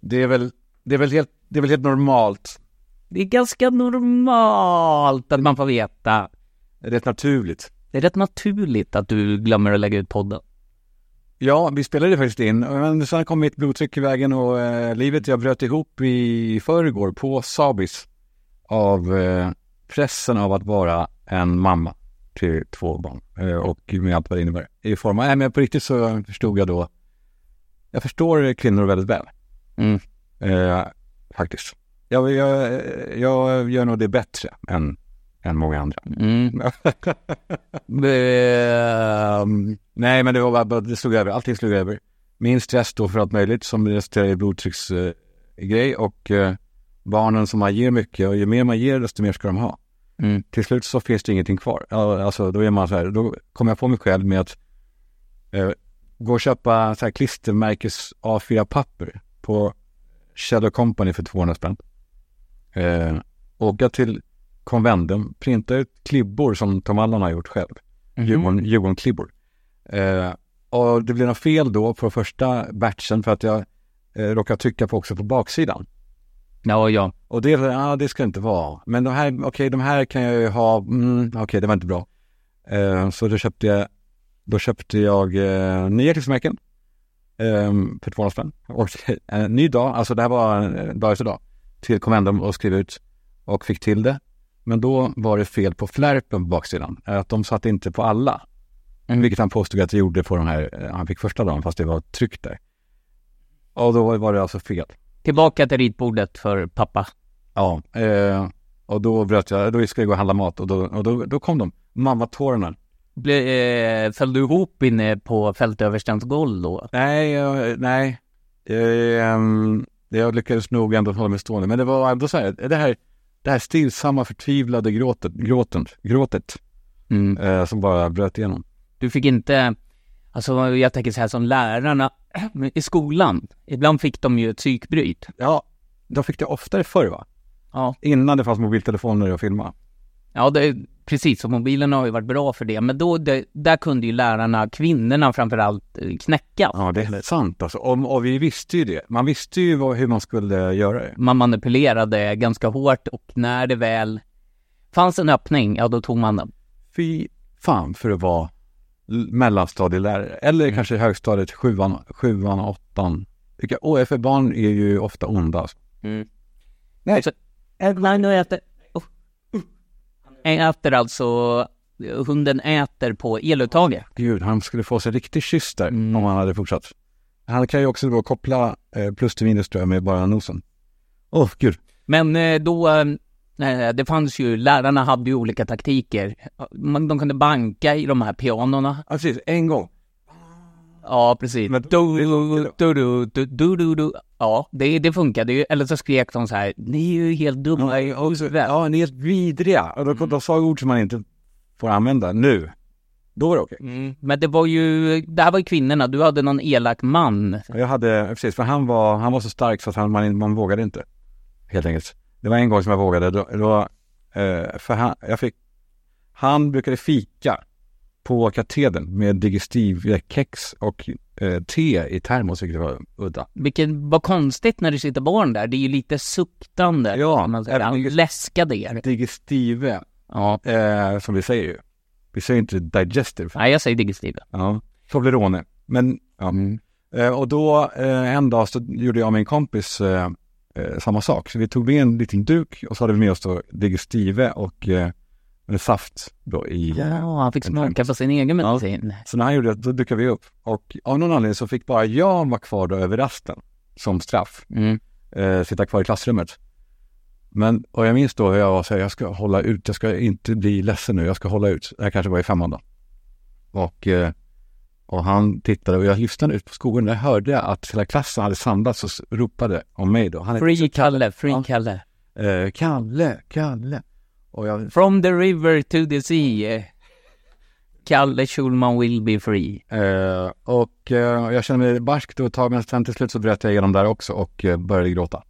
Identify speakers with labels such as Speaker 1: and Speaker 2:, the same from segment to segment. Speaker 1: Det är väl, det är väl, helt, det är väl helt normalt.
Speaker 2: Det är ganska normalt att man får veta.
Speaker 1: Rätt naturligt.
Speaker 2: Det är rätt naturligt att du glömmer att lägga ut podden.
Speaker 1: Ja, vi spelade faktiskt in, men sen kom mitt blodtryck i vägen och eh, livet. Jag bröt ihop i förrgår på Sabis av eh, pressen av att vara en mamma till två barn eh, och med allt vad det innebär i form av, nej men på riktigt så förstod jag då, jag förstår kvinnor väldigt väl.
Speaker 2: Mm.
Speaker 1: Eh, faktiskt. Jag, jag, jag gör nog det bättre än, än många andra.
Speaker 2: Mm. Ehm,
Speaker 1: Nej, men det var bara- bara, det slog över. Allting slog över. Min stress då för allt möjligt som resulterar i blodtrycksgrej eh, grej och eh, barnen som man ger mycket och ju mer man ger desto mer ska de ha.
Speaker 2: Mm.
Speaker 1: Till slut så finns det ingenting kvar. Ja, Alltså då är man så här, då kom jag på mig själv med att eh, gå och köpa så här klistermärkes A4-papper på Shadow Company för 200 spänn. Eh, åka till konvenden, printa ut klibbor som Tom Allan har gjort själv.
Speaker 2: Mm-hmm.
Speaker 1: Djurgården, Djurgården-klibbor. Eh, och det blev något fel då på första batchen för att jag eh, råkade trycka på också på baksidan.
Speaker 2: Ja, ja.
Speaker 1: Och det, ja, det ska det inte vara. Men de här, okej, de här kan jag ju ha, mm, okej, det var inte bra. Eh, så då köpte jag, då köpte jag eh, nya klistermärken eh, för 200 spänn. Och eh, en ny dag, alltså det här var eh, dag efter dag, till kommendum och skrev ut och fick till det. Men då var det fel på flärpen på baksidan, eh, att de satt inte på alla. Vilket han påstod att jag gjorde på de här, eh, han fick första dagen fast det var tryckt där. Och då var det alltså fel.
Speaker 2: Tillbaka till ritbordet för pappa.
Speaker 1: Ja, eh, och då bröt jag, då skulle jag gå och handla mat och då, och då, då kom de, mammatårarna.
Speaker 2: Ble, eh, föll du ihop inne på fältöverstens golv då?
Speaker 1: Nej, eh, nej. Eh, ehm, jag lyckades nog ändå hålla mig stående, men det var ändå så här, det här, det här stillsamma förtvivlade gråtet, gråten, gråtet eh, som bara bröt igenom.
Speaker 2: Mm. Du fick inte, alltså jag tänker så här som lärarna i skolan, ibland fick de ju ett psykbryt.
Speaker 1: Ja, de fick det oftare förr va?
Speaker 2: Ja.
Speaker 1: Innan det fanns mobiltelefoner att filma.
Speaker 2: Ja, det, precis, och mobilen har ju varit bra för det, men då, det, där kunde ju lärarna, kvinnorna framförallt, eh, knäcka.
Speaker 1: Ja, det är sant alltså. Och, och vi visste ju det. Man visste ju vad, hur man skulle göra det.
Speaker 2: Man manipulerade ganska hårt och när det väl fanns en öppning, ja då tog man den.
Speaker 1: fy fan för att vara l- mellanstadielärare. Eller kanske högstadiet, sjuan, sjuan åttan. Vilka, åh, för barn är ju ofta onda. alltså. Nej.
Speaker 2: Så, Eh, nej, nu äter... Oh. Äter alltså, hunden äter på eluttaget.
Speaker 1: Gud, han skulle få sig en riktig kyss där om han hade fortsatt. Han kan ju också då koppla eh, plus till minus tror jag med bara nosen. Åh, gud.
Speaker 2: Men eh, då, eh, det fanns ju, lärarna hade ju olika taktiker. Man- De kunde banka i de här pianona.
Speaker 1: Ja, precis. En gång.
Speaker 2: Ja, precis.
Speaker 1: Men-
Speaker 2: Du- du- du- du- du- du- du. Ja, det, det funkade ju. Eller så skrek de så här, ni är ju helt dumma.
Speaker 1: Nej, och så, ja, ni är helt vidriga. Mm. Och då, då sa jag ord som man inte får använda nu. Då är det okej.
Speaker 2: Mm. Men det var ju, det här var ju kvinnorna. Du hade någon elak man.
Speaker 1: Och Jag hade, precis, för han var, han var så stark så att han, man, man vågade inte. Helt enkelt. Det var en gång som jag vågade. Då, då, eh, för han, jag fick, han brukade fika på katedern med digestivkex och eh, te i termos, vilket var udda.
Speaker 2: Vilket var konstigt när det sitter barn där. Det är ju lite suktande.
Speaker 1: Ja,
Speaker 2: Man säger,
Speaker 1: även-
Speaker 2: "Ja, läskade er.
Speaker 1: Digestive,
Speaker 2: Ja.
Speaker 1: eh, som vi säger ju. Vi säger inte digestive.
Speaker 2: Nej, jag säger digestive.
Speaker 1: Ja. Toblerone. Men, ja. Eh, och då eh, en dag så gjorde jag och min kompis eh, eh, samma sak. Så vi tog med en liten duk och så hade vi med oss då digestive och eh, en saft då i.
Speaker 2: Ja, han fick smaka på sin egen medicin.
Speaker 1: Så när han gjorde det, då dukade vi upp. Och av någon anledning så fick bara jag vara kvar då över rasten som straff.
Speaker 2: Mm.
Speaker 1: Eh, sitta kvar i klassrummet. Men, och jag minns då hur jag var så här, jag ska hålla ut, jag ska inte bli ledsen nu, jag ska hålla ut. Det här kanske var i femman då. Och, eh, och han tittade och jag lyssnade ut på skogen. Där hörde jag att hela klassen hade samlats och s- ropade om mig då. Han är
Speaker 2: Free Kalle, free
Speaker 1: Ja.
Speaker 2: Kalle.
Speaker 1: eh, Kalle, Kalle. Och jag,
Speaker 2: From the river to the sea. Kalle Schulman will be free.
Speaker 1: eh, och eh, jag kände mig barsk då ett tag, men sen till slut så bröt jag igenom där också och eh, började gråta.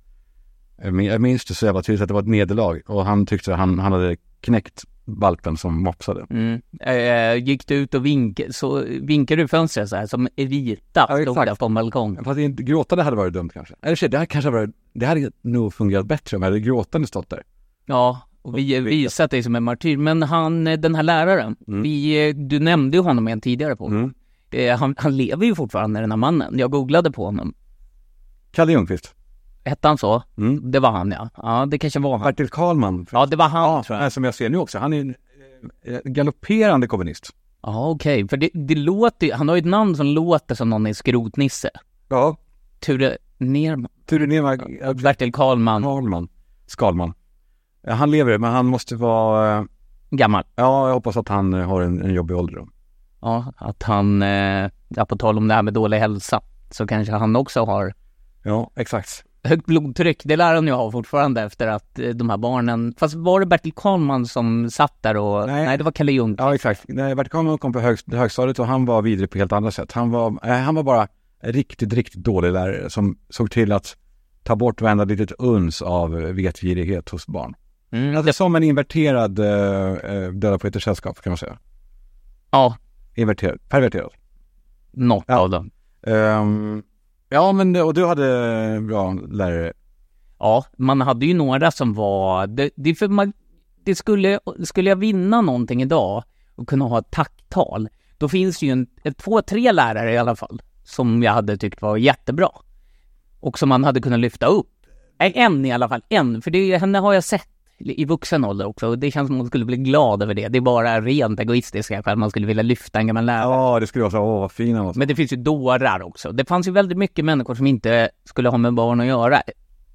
Speaker 1: Jag min- Jag minns det så jävla tydligt att det var ett nederlag och han tyckte att han, han hade knäckt valpen som mopsade.
Speaker 2: Mm. Eh, gick du ut och vinkade, så vinkade du fönstret så här som Evita
Speaker 1: Ja,
Speaker 2: stod
Speaker 1: exakt.
Speaker 2: där på en balkong?
Speaker 1: Fast inte- gråta, det hade varit dumt kanske. Eller shit, det hade kanske varit, det hade nog fungerat bättre om jag hade gråtande stått där.
Speaker 2: Ja, och vi visat dig som en martyr. Men han, eh, den här läraren, vi, eh, du nämnde ju honom en tidigare på.
Speaker 1: Mm.
Speaker 2: Eh, han, han lever ju fortfarande den här mannen. Jag googlade på honom.
Speaker 1: Kalle Ljungqvist.
Speaker 2: Hette han så?
Speaker 1: Mm.
Speaker 2: Det var han ja. Ja, det kanske var han.
Speaker 1: Bertil Karlman.
Speaker 2: Ja, det var han tror jag.
Speaker 1: Nej, som jag ser nu också. Han är en eh, galopperande kommunist.
Speaker 2: Ja, okej. För det, det låter ju- han har ju ett namn som låter som någon i Skrotnisse.
Speaker 1: Ja.
Speaker 2: Ture Nerman,
Speaker 1: Ture Nermark, eh,
Speaker 2: Bertil Karlman,
Speaker 1: Karlman. Skalman. Eh, Han lever, men han måste vara... eh,
Speaker 2: gammal.
Speaker 1: Ja, jag hoppas att han eh, har en, en jobbig ålder. då.
Speaker 2: Ja, att han, eh, ja, på tal om det här med dålig hälsa, så kanske han också har
Speaker 1: Ja, exakt.
Speaker 2: högt blodtryck. Det lär han ju ha fortfarande efter att eh, de här barnen, fast var det Bertil Karlman som satt där och, nej,
Speaker 1: Nej.
Speaker 2: det var Kalle Ljung.
Speaker 1: Ja, exakt. Nej, Bertil Karlman kom på hög, högstadiet och han var vidrig på helt andra sätt. Han var, eh, han var bara en riktigt, riktigt dålig lärare som såg till att ta bort varenda litet uns av eh, vetgirighet hos barn.
Speaker 2: Mm,
Speaker 1: Alltså, som en inverterad eh, eh, Döda poeters sällskap kan man säga.
Speaker 2: ja,
Speaker 1: Inverterad, perverterad.
Speaker 2: något
Speaker 1: Ja.
Speaker 2: av dem.
Speaker 1: Ehm, ja, men och du hade eh, bra lärare.
Speaker 2: Ja, man hade ju några som var, det, det, är för man, det skulle, skulle jag vinna någonting idag och kunna ha ett tacktal, då finns det ju en, ett- två, tre lärare i alla fall som jag hade tyckt var jättebra. Och som man hade kunnat lyfta upp. Nej, En i alla fall, en, för det, henne har jag sett i vuxen ålder också och det känns som hon skulle bli glad över det. Det är bara rent egoistiska skäl, man skulle vilja lyfta en gammal lärare.
Speaker 1: Ja, det skulle vara så, åh vad fin han var.
Speaker 2: Men det finns ju dårar också. Det fanns ju väldigt mycket människor som inte skulle ha med barn att göra.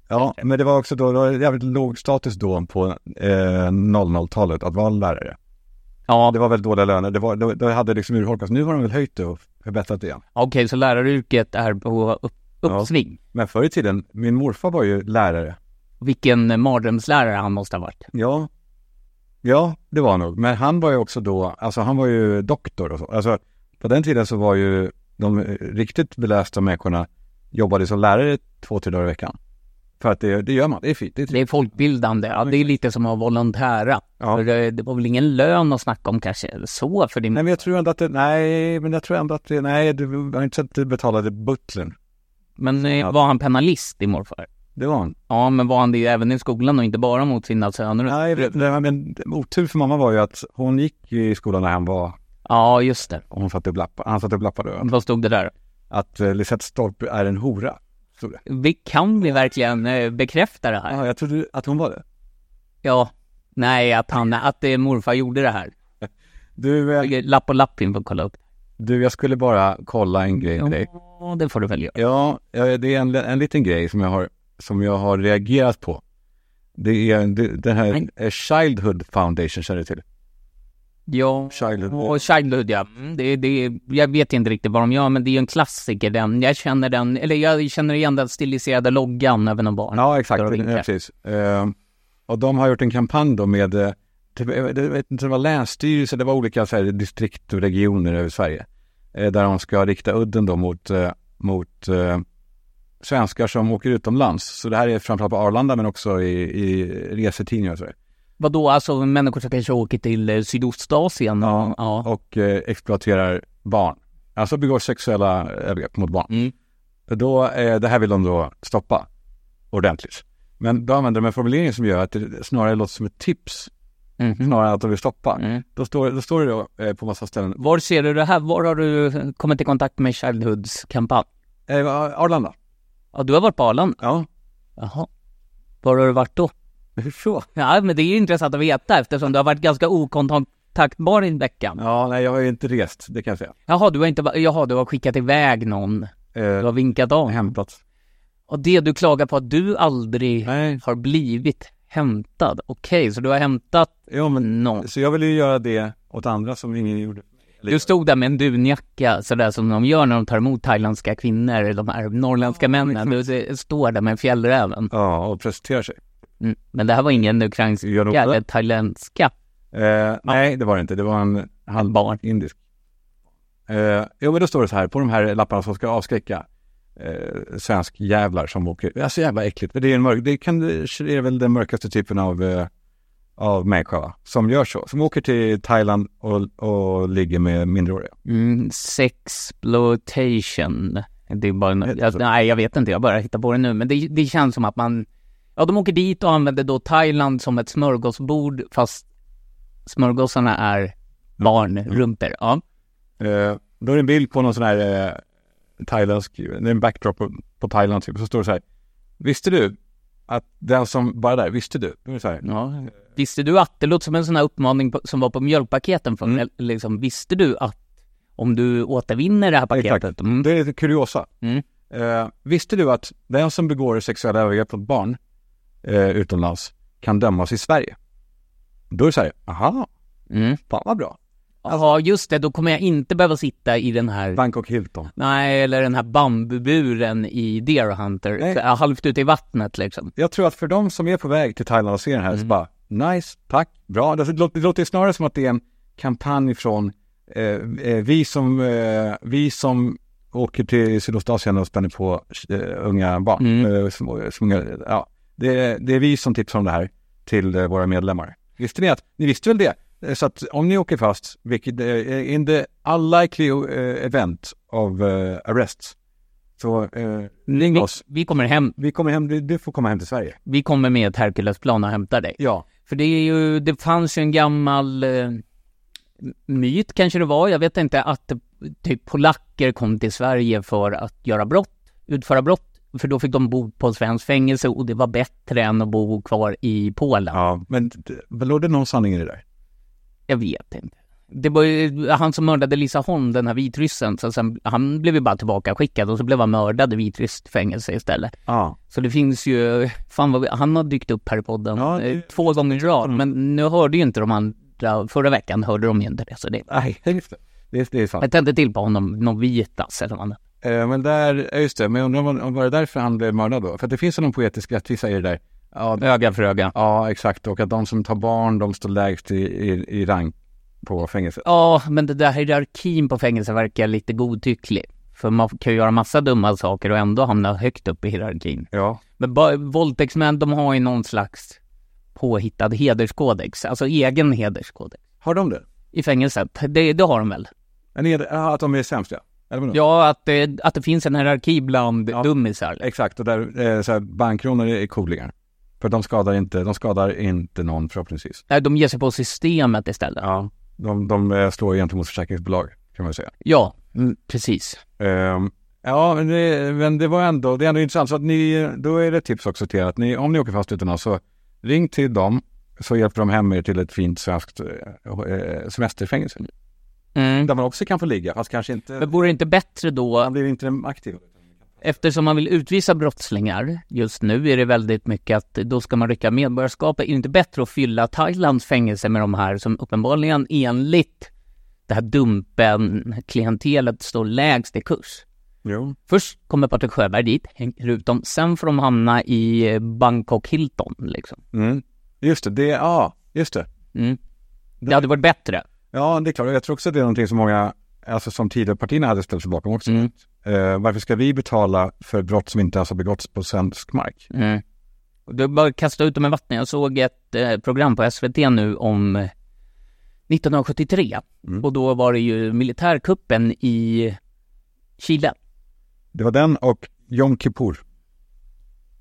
Speaker 1: Ja, men det var också då, det var jävligt låg status då på eh, 00-talet att vara lärare.
Speaker 2: Ja,
Speaker 1: Det var väldigt dåliga löner, det, var, det, det hade liksom urholkats. Nu har de väl höjt det och förbättrat det igen.
Speaker 2: Okej, så läraryrket är på upp, uppsving.
Speaker 1: Men förr i tiden, min morfar var ju lärare.
Speaker 2: Vilken mardrömslärare han måste ha varit.
Speaker 1: Ja, ja det var han nog. Men han var ju också då, alltså han var ju doktor och så. Alltså på den tiden så var ju de eh, riktigt belästa människorna jobbade som lärare två, tre dagar i veckan. För att det, det gör man, det är fint. Det är
Speaker 2: Det
Speaker 1: trevligt.
Speaker 2: är folkbildande. Ja, det är lite som att volontära.
Speaker 1: Ja.
Speaker 2: För eh, det, det var väl ingen lön att snacka om kanske så för din...
Speaker 1: Nej men jag tror ändå att det, nej men jag tror ändå att det, nej du har inte sett att du betalade butlern.
Speaker 2: men eh, var han penalist i morfar?
Speaker 1: Det var han.
Speaker 2: Ja, men var han det även i skolan och inte bara mot sina söner?
Speaker 1: Nej, men, men otur för mamma var ju att hon gick i skolan när han var,
Speaker 2: Ja, just det.
Speaker 1: hon satt upp lappar, han satt upp lappar då.
Speaker 2: Vad stod det där?
Speaker 1: Att eh, Lisette Stolpe är en hora. stod det.
Speaker 2: Vi, kan vi verkligen eh, bekräfta det här?
Speaker 1: Ja, jag trodde att hon var det.
Speaker 2: Ja. Nej, att han, att eh, morfar gjorde det här.
Speaker 1: Du, eh,
Speaker 2: Lapp och lappin får kolla upp.
Speaker 1: du, jag skulle bara kolla en grej med dig.
Speaker 2: Ja, det får du väl göra.
Speaker 1: Ja, eh, det är en, en liten grej som jag har, som jag har reagerat på. Det är det, den här
Speaker 2: Men-
Speaker 1: eh, Childhood Foundation, känner du till?
Speaker 2: Ja,
Speaker 1: Childhood.
Speaker 2: och Childhood ja. Mm, Det, det, jag vet inte riktigt vad de gör, men det är ju en klassiker den. Jag känner den, eller jag känner igen den stiliserade loggan över någon barn.
Speaker 1: Ja, exakt.
Speaker 2: Där och
Speaker 1: Ja,
Speaker 2: vinkar.
Speaker 1: precis. Eh, och de har gjort en kampanj då med, eh, typ, jag vet- jag vet inte, det var länsstyrelser, det var olika så här, distrikt och regioner över Sverige. Eh, där de ska rikta udden då mot, eh, mot eh, svenskar som åker utomlands. Så det här är framförallt på Arlanda men också i, i resetidningar och så. vidare.
Speaker 2: Vadå, alltså människor som kanske åker till eh, Sydostasien?
Speaker 1: Ja.
Speaker 2: ja.
Speaker 1: Och eh, exploaterar barn. Alltså begår sexuella övergrepp mot barn.
Speaker 2: Mm.
Speaker 1: Då, eh, det här vill de då stoppa ordentligt. Men då använder de en formulering som gör att det snarare låter som ett tips
Speaker 2: Mhm.
Speaker 1: snarare än att de vill stoppa.
Speaker 2: Mm.
Speaker 1: Då, står, då står det då, eh, på massa ställen,
Speaker 2: Var ser du det här? Var har du eh, kommit i kontakt med Childhoods kampanj?
Speaker 1: eh, Arlanda.
Speaker 2: Ja, du har varit på Arlanda?
Speaker 1: Ja.
Speaker 2: Jaha. Var har du varit då?
Speaker 1: Hur så?
Speaker 2: Ja, men det är ju intressant att veta eftersom du har varit ganska okontaktbar i veckan.
Speaker 1: Ja, nej jag har ju inte rest, det kan jag säga.
Speaker 2: Jaha, du har inte, va- jaha, du har skickat iväg någon. Du
Speaker 1: Eh,
Speaker 2: har vinkat av.
Speaker 1: hämtat.
Speaker 2: Och det du klagar på att du aldrig
Speaker 1: Nej,
Speaker 2: har blivit hämtad. Okej, så du har hämtat
Speaker 1: ja, men,
Speaker 2: någon.
Speaker 1: så jag ville ju göra det åt andra som ingen gjorde.
Speaker 2: Du stod där med en dunjacka sådär som de gör när de tar emot thailändska kvinnor, eller de här norrländska männen. Du s- står där med en fjällräven.
Speaker 1: Ja, och presenterar sig.
Speaker 2: Mm. Men det här var ingen ukrainska
Speaker 1: Gör de också
Speaker 2: eller
Speaker 1: det?
Speaker 2: thailändska
Speaker 1: Eh, nej, det var det inte. Det var en halv
Speaker 2: barn.
Speaker 1: indisk. Eh, jo, men då står det så här på de här lapparna som ska avskräcka eh, svensk jävlar som åker. Det är så jävla äckligt. Men Det, är en mörk, det, kan, det är väl den mörkaste typen av eh, av människa va? som gör så. Som åker till Thailand och, och ligger med minderåriga.
Speaker 2: Mm, sexploitation. Det är bara en,
Speaker 1: Heter det
Speaker 2: jag,
Speaker 1: så?
Speaker 2: nej, jag vet inte, jag bara hittar på det nu. Men det, det känns som att man... Ja, de åker dit och använder då Thailand som ett smörgåsbord, fast smörgåsarna är barnrumpor. Ja.
Speaker 1: Eh, då är det en bild på någon sån här eh, thailändsk, det är en backdrop på, på Thailand typ. Så står det så här. Visste du att den som, bara där, visste du? Då är det så här.
Speaker 2: ja. Visste du att, det låter som en sån här uppmaning på, som var på mjölkpaketen förr, eller liksom, visste du att om du återvinner det här paketet?
Speaker 1: Exakt.
Speaker 2: Mm.
Speaker 1: Det är lite kuriosa.
Speaker 2: Mm.
Speaker 1: Eh, visste du att den som begår sexuella övergrepp mot barn eh, utomlands kan dömas i Sverige? Då är det så här, aha,
Speaker 2: Mm.
Speaker 1: fan vad bra.
Speaker 2: Ja, just det, då kommer jag inte behöva sitta i den här
Speaker 1: Bangkok Hilton.
Speaker 2: Nej, eller den här bambuburen i Deer Hunter.
Speaker 1: Nej.
Speaker 2: Så, ja, Halvt ute i vattnet liksom.
Speaker 1: Jag tror att för de som är på väg till Thailand och ser den här så bara, nice, tack, bra. Det låter, det låter snarare som att det är en kampanj från eh, eh, vi, som, eh, vi som åker till Sydostasien och spänner på eh, unga barn. Eh, små, små, ja. det, det är vi som tipsar om det här till eh, våra medlemmar. Visste ni att, ni visste väl det? Eh, Så att om ni åker fast, vilket eh, in the unlikely eh, event of eh, arrests, så eh, ring
Speaker 2: Vi,
Speaker 1: oss.
Speaker 2: vi kommer hem,
Speaker 1: Vi kommer hem, du, du får komma hem till Sverige.
Speaker 2: vi kommer med ett Herculesplan och hämtar dig.
Speaker 1: Ja,
Speaker 2: För det är ju, det fanns ju en gammal eh, myt kanske det var, jag vet inte, att typ polacker kom till Sverige för att göra brott, utföra brott. För då fick de bo på svensk fängelse och det var bättre än att bo kvar i Polen.
Speaker 1: ja men d- men låg det någon sanning i det där?
Speaker 2: Jag vet inte. Det var ju han som mördade Lisa Holm, den här vitryssen, så sen, han blev ju bara tillbaka skickad och så blev han mördad i vitryskt fängelse istället.
Speaker 1: Ja.
Speaker 2: Så det finns ju, fan vad, vi- han har dykt upp här i podden
Speaker 1: Ja, det- Mm.
Speaker 2: eh, två gånger i rad, men nu hörde ju inte de andra, förra veckan hörde de ju inte det, så det,
Speaker 1: Nej, just det. Det, det är sant.
Speaker 2: jag tände till på honom, någon vitas eller vad han
Speaker 1: Eh, men där, ja, just det, men jag undrar om, om var det därför han blev mördad då? För att det finns ju någon poetisk rättvisa i det där. Ja, det-
Speaker 2: Öga för öga.
Speaker 1: ja, exakt. Och att de som tar barn, de står lägst i, i, i rang på fängelset.
Speaker 2: Ja, men det där hierarkin på fängelse verkar lite godtycklig. För man kan ju göra massa dumma saker och ändå hamna högt upp i hierarkin.
Speaker 1: Ja.
Speaker 2: Men bara- våldtäktsmän, de har ju någon slags påhittad hederskodex, alltså egen hederskodex.
Speaker 1: Har de det?
Speaker 2: I fängelset, det, det har de väl?
Speaker 1: En ed- ja, att de är sämst, ja. Eller vadå?
Speaker 2: Ja, att det, att det finns en hierarki bland dummisar.
Speaker 1: Exakt, och där, eh, så här, bankrånare är coolingar. För de skadar inte, de skadar inte någon förhoppningsvis.
Speaker 2: Nej, de ger sig på systemet istället.
Speaker 1: Ja.
Speaker 2: Ja,
Speaker 1: De, de eh, slår ju gentemot försäkringsbolag, kan man säga.
Speaker 2: mm, precis.
Speaker 1: Ehm, ja, men det, men det var ändå, det är ändå intressant. Så att ni, då är det ett tips också till er att ni, om ni åker fast utomlands så ring till dem så hjälper de hem er till ett fint svenskt eh, semesterfängelse.
Speaker 2: Mm.
Speaker 1: Där man också kan få ligga, fast kanske inte,
Speaker 2: Men vore det inte bättre då,
Speaker 1: man blir inte aktiv.
Speaker 2: eftersom man vill utvisa brottslingar just nu, är det väldigt mycket att då ska man rycka medborgarskapet. Är det inte bättre att fylla Thailands fängelse med de här som uppenbarligen enligt det här dumpen-klientelet står lägst i kurs?
Speaker 1: Jo.
Speaker 2: Först kommer Patrik Sjöberg dit, hänger ut dem. Sen får de hamna i eh, Bangkok Hilton liksom.
Speaker 1: Mm. Just det, det, ja, just det.
Speaker 2: Mm. Det hade varit bättre.
Speaker 1: Ja, det är klart. Jag tror också att det är någonting som många, alltså som Tidöpartierna hade ställt sig bakom också.
Speaker 2: Mm.
Speaker 1: Eh, varför ska vi betala för brott som inte ens har begåtts på svensk mark?
Speaker 2: Mm. Och Det är bara att kasta ut dem i vattnet. Jag såg ett eh, program på SVT nu om eh, 1973. Och då var det ju militärkuppen i Chile.
Speaker 1: Det var den och Yom Kippur.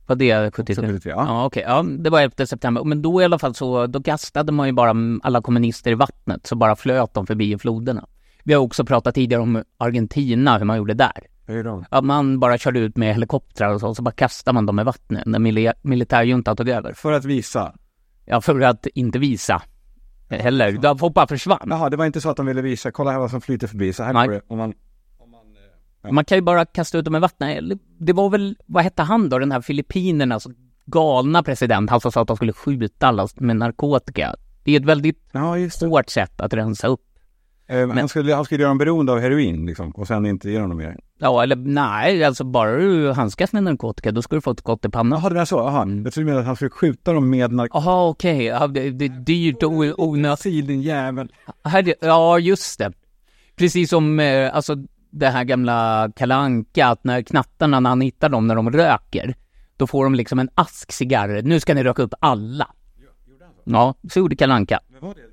Speaker 2: Var det 73?
Speaker 1: 73, ja.
Speaker 2: Ja okej, ja det var 11 september. Men då i alla fall så, då kastade man ju bara mm, alla kommunister i vattnet. Så bara flöt de förbi i floderna. Vi har också pratat tidigare om Argentina, hur man gjorde där.
Speaker 1: Hur är de?
Speaker 2: att man bara körde ut med helikoptrar och så, och så bara kastar man dem i vattnet när mili- militärjuntan tog över.
Speaker 1: För att visa
Speaker 2: Ja, för att inte visa heller. De folk bara försvann.
Speaker 1: Jaha, det var inte så att de ville visa, kolla här vad som flyter förbi, så här
Speaker 2: Nej.
Speaker 1: går det. Om man,
Speaker 2: Man kan ju bara kasta ut dem i vattnet. Eller, Det var väl, vad hette han då, den här Filippinernas galna president, han som sa att de skulle skjuta alla med narkotika. Det är ett väldigt
Speaker 1: ja, just det.
Speaker 2: hårt sätt att rensa upp.
Speaker 1: Eh, han, skulle, han skulle göra dem beroende av heroin liksom, och sen inte ge dem något mer.
Speaker 2: Ja, eller nej, alltså bara du handskas med narkotika, då ska du få ett skott i pannan.
Speaker 1: Jaha, det var så? Jaha, jag trodde du menade att han skulle skjuta dem med narkotika.
Speaker 2: Jaha, okej. Ja, det, det är dyrt och o- onödigt.
Speaker 1: Sil din jävel.
Speaker 2: Här, ja, just det. Precis som eh, alltså, det här gamla kalanka att när knattarna, när han hittar dem när de röker, då får de liksom en ask cigarrer. Nu ska ni röka upp alla. Ja, så gjorde Kalle Anka.
Speaker 1: Men var det ett-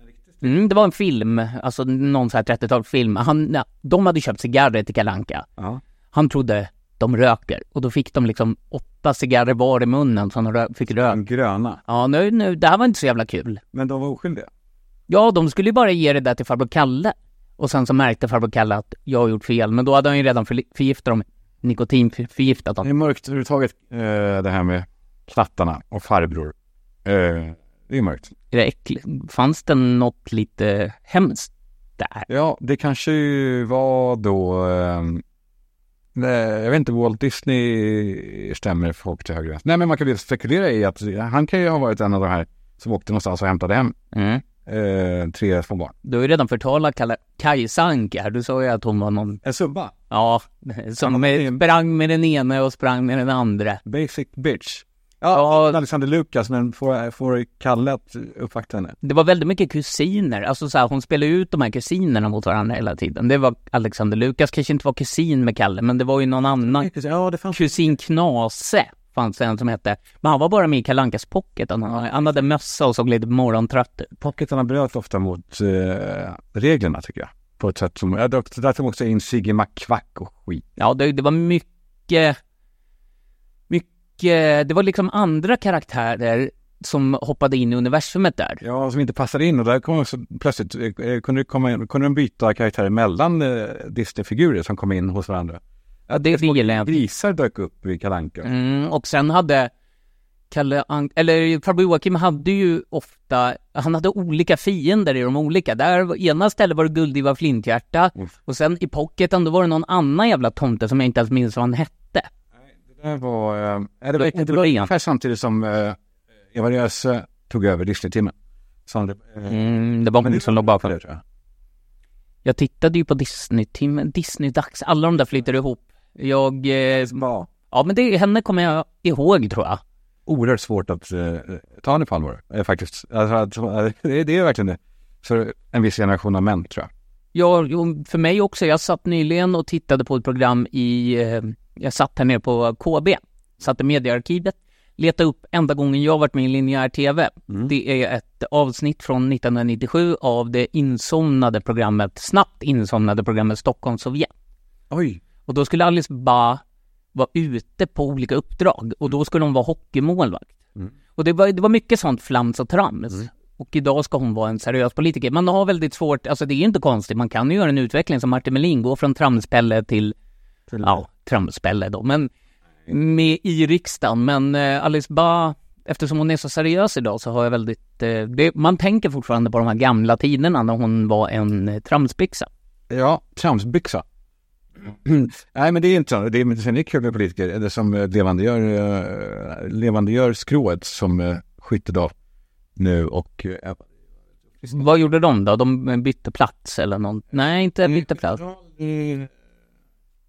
Speaker 1: en riktig stil?
Speaker 2: Mm, det var en film, alltså någon så här 30-talsfilm. Han, ja, de hade köpt cigarrer till Kalle Anka.
Speaker 1: Ja.
Speaker 2: Han trodde de röker och då fick de liksom åtta cigarrer var i munnen så han rö- fick rök.
Speaker 1: Den gröna.
Speaker 2: Ja, nu, nu, det här var inte så jävla kul.
Speaker 1: Men de var oskyldiga.
Speaker 2: Ja, de skulle ju bara ge det där till farbror Kalle. Och sen så märkte farbror Kalle att jag har gjort fel, men då hade han ju redan förli- förgiftat dem, nikotinförgiftat
Speaker 1: Det
Speaker 2: dem.
Speaker 1: är mörkt överhuvudtaget eh, det här med plattarna och farbror. Eh, det är mörkt.
Speaker 2: Är det äckligt? Fanns det något lite hemskt där?
Speaker 1: Ja, det kanske ju var då... ehm, nej, jag vet inte, Walt Disney stämmer folk till höger och vänster. Nej, men man kan ju spekulera i att han kan ju ha varit en av de här som åkte någonstans och hämtade hem
Speaker 2: Mm.
Speaker 1: eh, tre små barn.
Speaker 2: Du har ju redan förtalat Kalle- Kajsa Anka här. Du sa ju att hon var någon,
Speaker 1: En subba.
Speaker 2: ja, som med, sprang med den ene och sprang med den andra.
Speaker 1: Basic bitch.
Speaker 2: Ja.
Speaker 1: Ja, Alexander Lukas, men får, får Kalle att uppvakta henne.
Speaker 2: Det var väldigt mycket kusiner, alltså så här, hon spelade ut de här kusinerna mot varandra hela tiden. Det var Alexander Lukas kanske inte var kusin med Kalle, men det var ju någon annan
Speaker 1: Ja, det fanns...
Speaker 2: Kusin Knase fanns det en som hette. Men han var bara med i Kalle Ankas pocket. Han, han hade mössa och såg lite morgontrött ut.
Speaker 1: Pocketarna bröt ofta mot eh, reglerna, tycker jag. På ett sätt som... Ja, det- där tog också in Sigge McQuack och skit.
Speaker 2: Ja, det, det var mycket... Mycket... Det var liksom andra karaktärer som hoppade in i universumet där.
Speaker 1: Ja, som inte passade in och där kom också plötsligt, eh, kunde, det komma in, kunde de byta karaktärer mellan eh, Disney-figurer som kom in hos varandra.
Speaker 2: Ja, det gillar jag.
Speaker 1: Grisar dök upp i Kalle Anka.
Speaker 2: Mm, och sen hade Kalle Ank- eller farbror Joakim hade ju ofta, han hade olika fiender i de olika. Där, ena stället var det Guldiva Flinthjärta
Speaker 1: Mm.
Speaker 2: och sen i pocketen då var det någon annan jävla tomte som jag inte ens minns vad han hette.
Speaker 1: Det där var... Eh, ja, det var,
Speaker 2: Låter
Speaker 1: det var
Speaker 2: rent.
Speaker 1: ungefär samtidigt som eh, Eva Röse tog över Disney-timmen. Så, eh,
Speaker 2: Mm, det var
Speaker 1: men
Speaker 2: hon
Speaker 1: det-
Speaker 2: som låg bakom.
Speaker 1: det, tror jag.
Speaker 2: Jag tittade ju på Disney-timmen, Disney-dags, alla de där flyter ihop. Jag, eh,
Speaker 1: Var
Speaker 2: ja men det, henne kommer jag ihåg tror jag.
Speaker 1: oerhört svårt att eh, ta henne på allvar, eh, faktiskt. Alltså, att, eh, det, är- det är verkligen det. För en viss generation av män, tror jag.
Speaker 2: Ja, jo, för mig också. Jag satt nyligen och tittade på ett program i, eh, jag satt här nere på KB, satt i mediearkivet, letade upp enda gången jag varit med i linjär TV.
Speaker 1: Mm.
Speaker 2: Det är ett avsnitt från 1997 av det insomnade programmet, snabbt insomnade programmet Stockholm Sovjet.
Speaker 1: Oj!
Speaker 2: Och då skulle Alice Ba vara ute på olika uppdrag och då skulle hon vara hockeymålvakt. Och det var, det var mycket sånt flams och trams. Och idag ska hon vara en seriös politiker. Man har väldigt svårt, alltså det är inte konstigt, man kan ju göra en utveckling som Martin Melin, gå från tramspelle till, ja, tramspelle då, men med i riksdagen. Men eh, Alice Ba, eftersom hon är så seriös idag så har jag väldigt, eh, det, man tänker fortfarande på de här gamla tiderna när hon var en eh, tramsbyxa.
Speaker 1: Ja, tramsbyxa. Nej, men det är inte så. Det är, sen är det kul med politiker eller som eh, levandegör, eh, levandegör skrået som eh, Skyttedal nu och... Eh,
Speaker 2: Vad gjorde de då? De bytte plats eller
Speaker 1: Eh,
Speaker 2: något? Nej, inte bytte plats.
Speaker 1: Mm.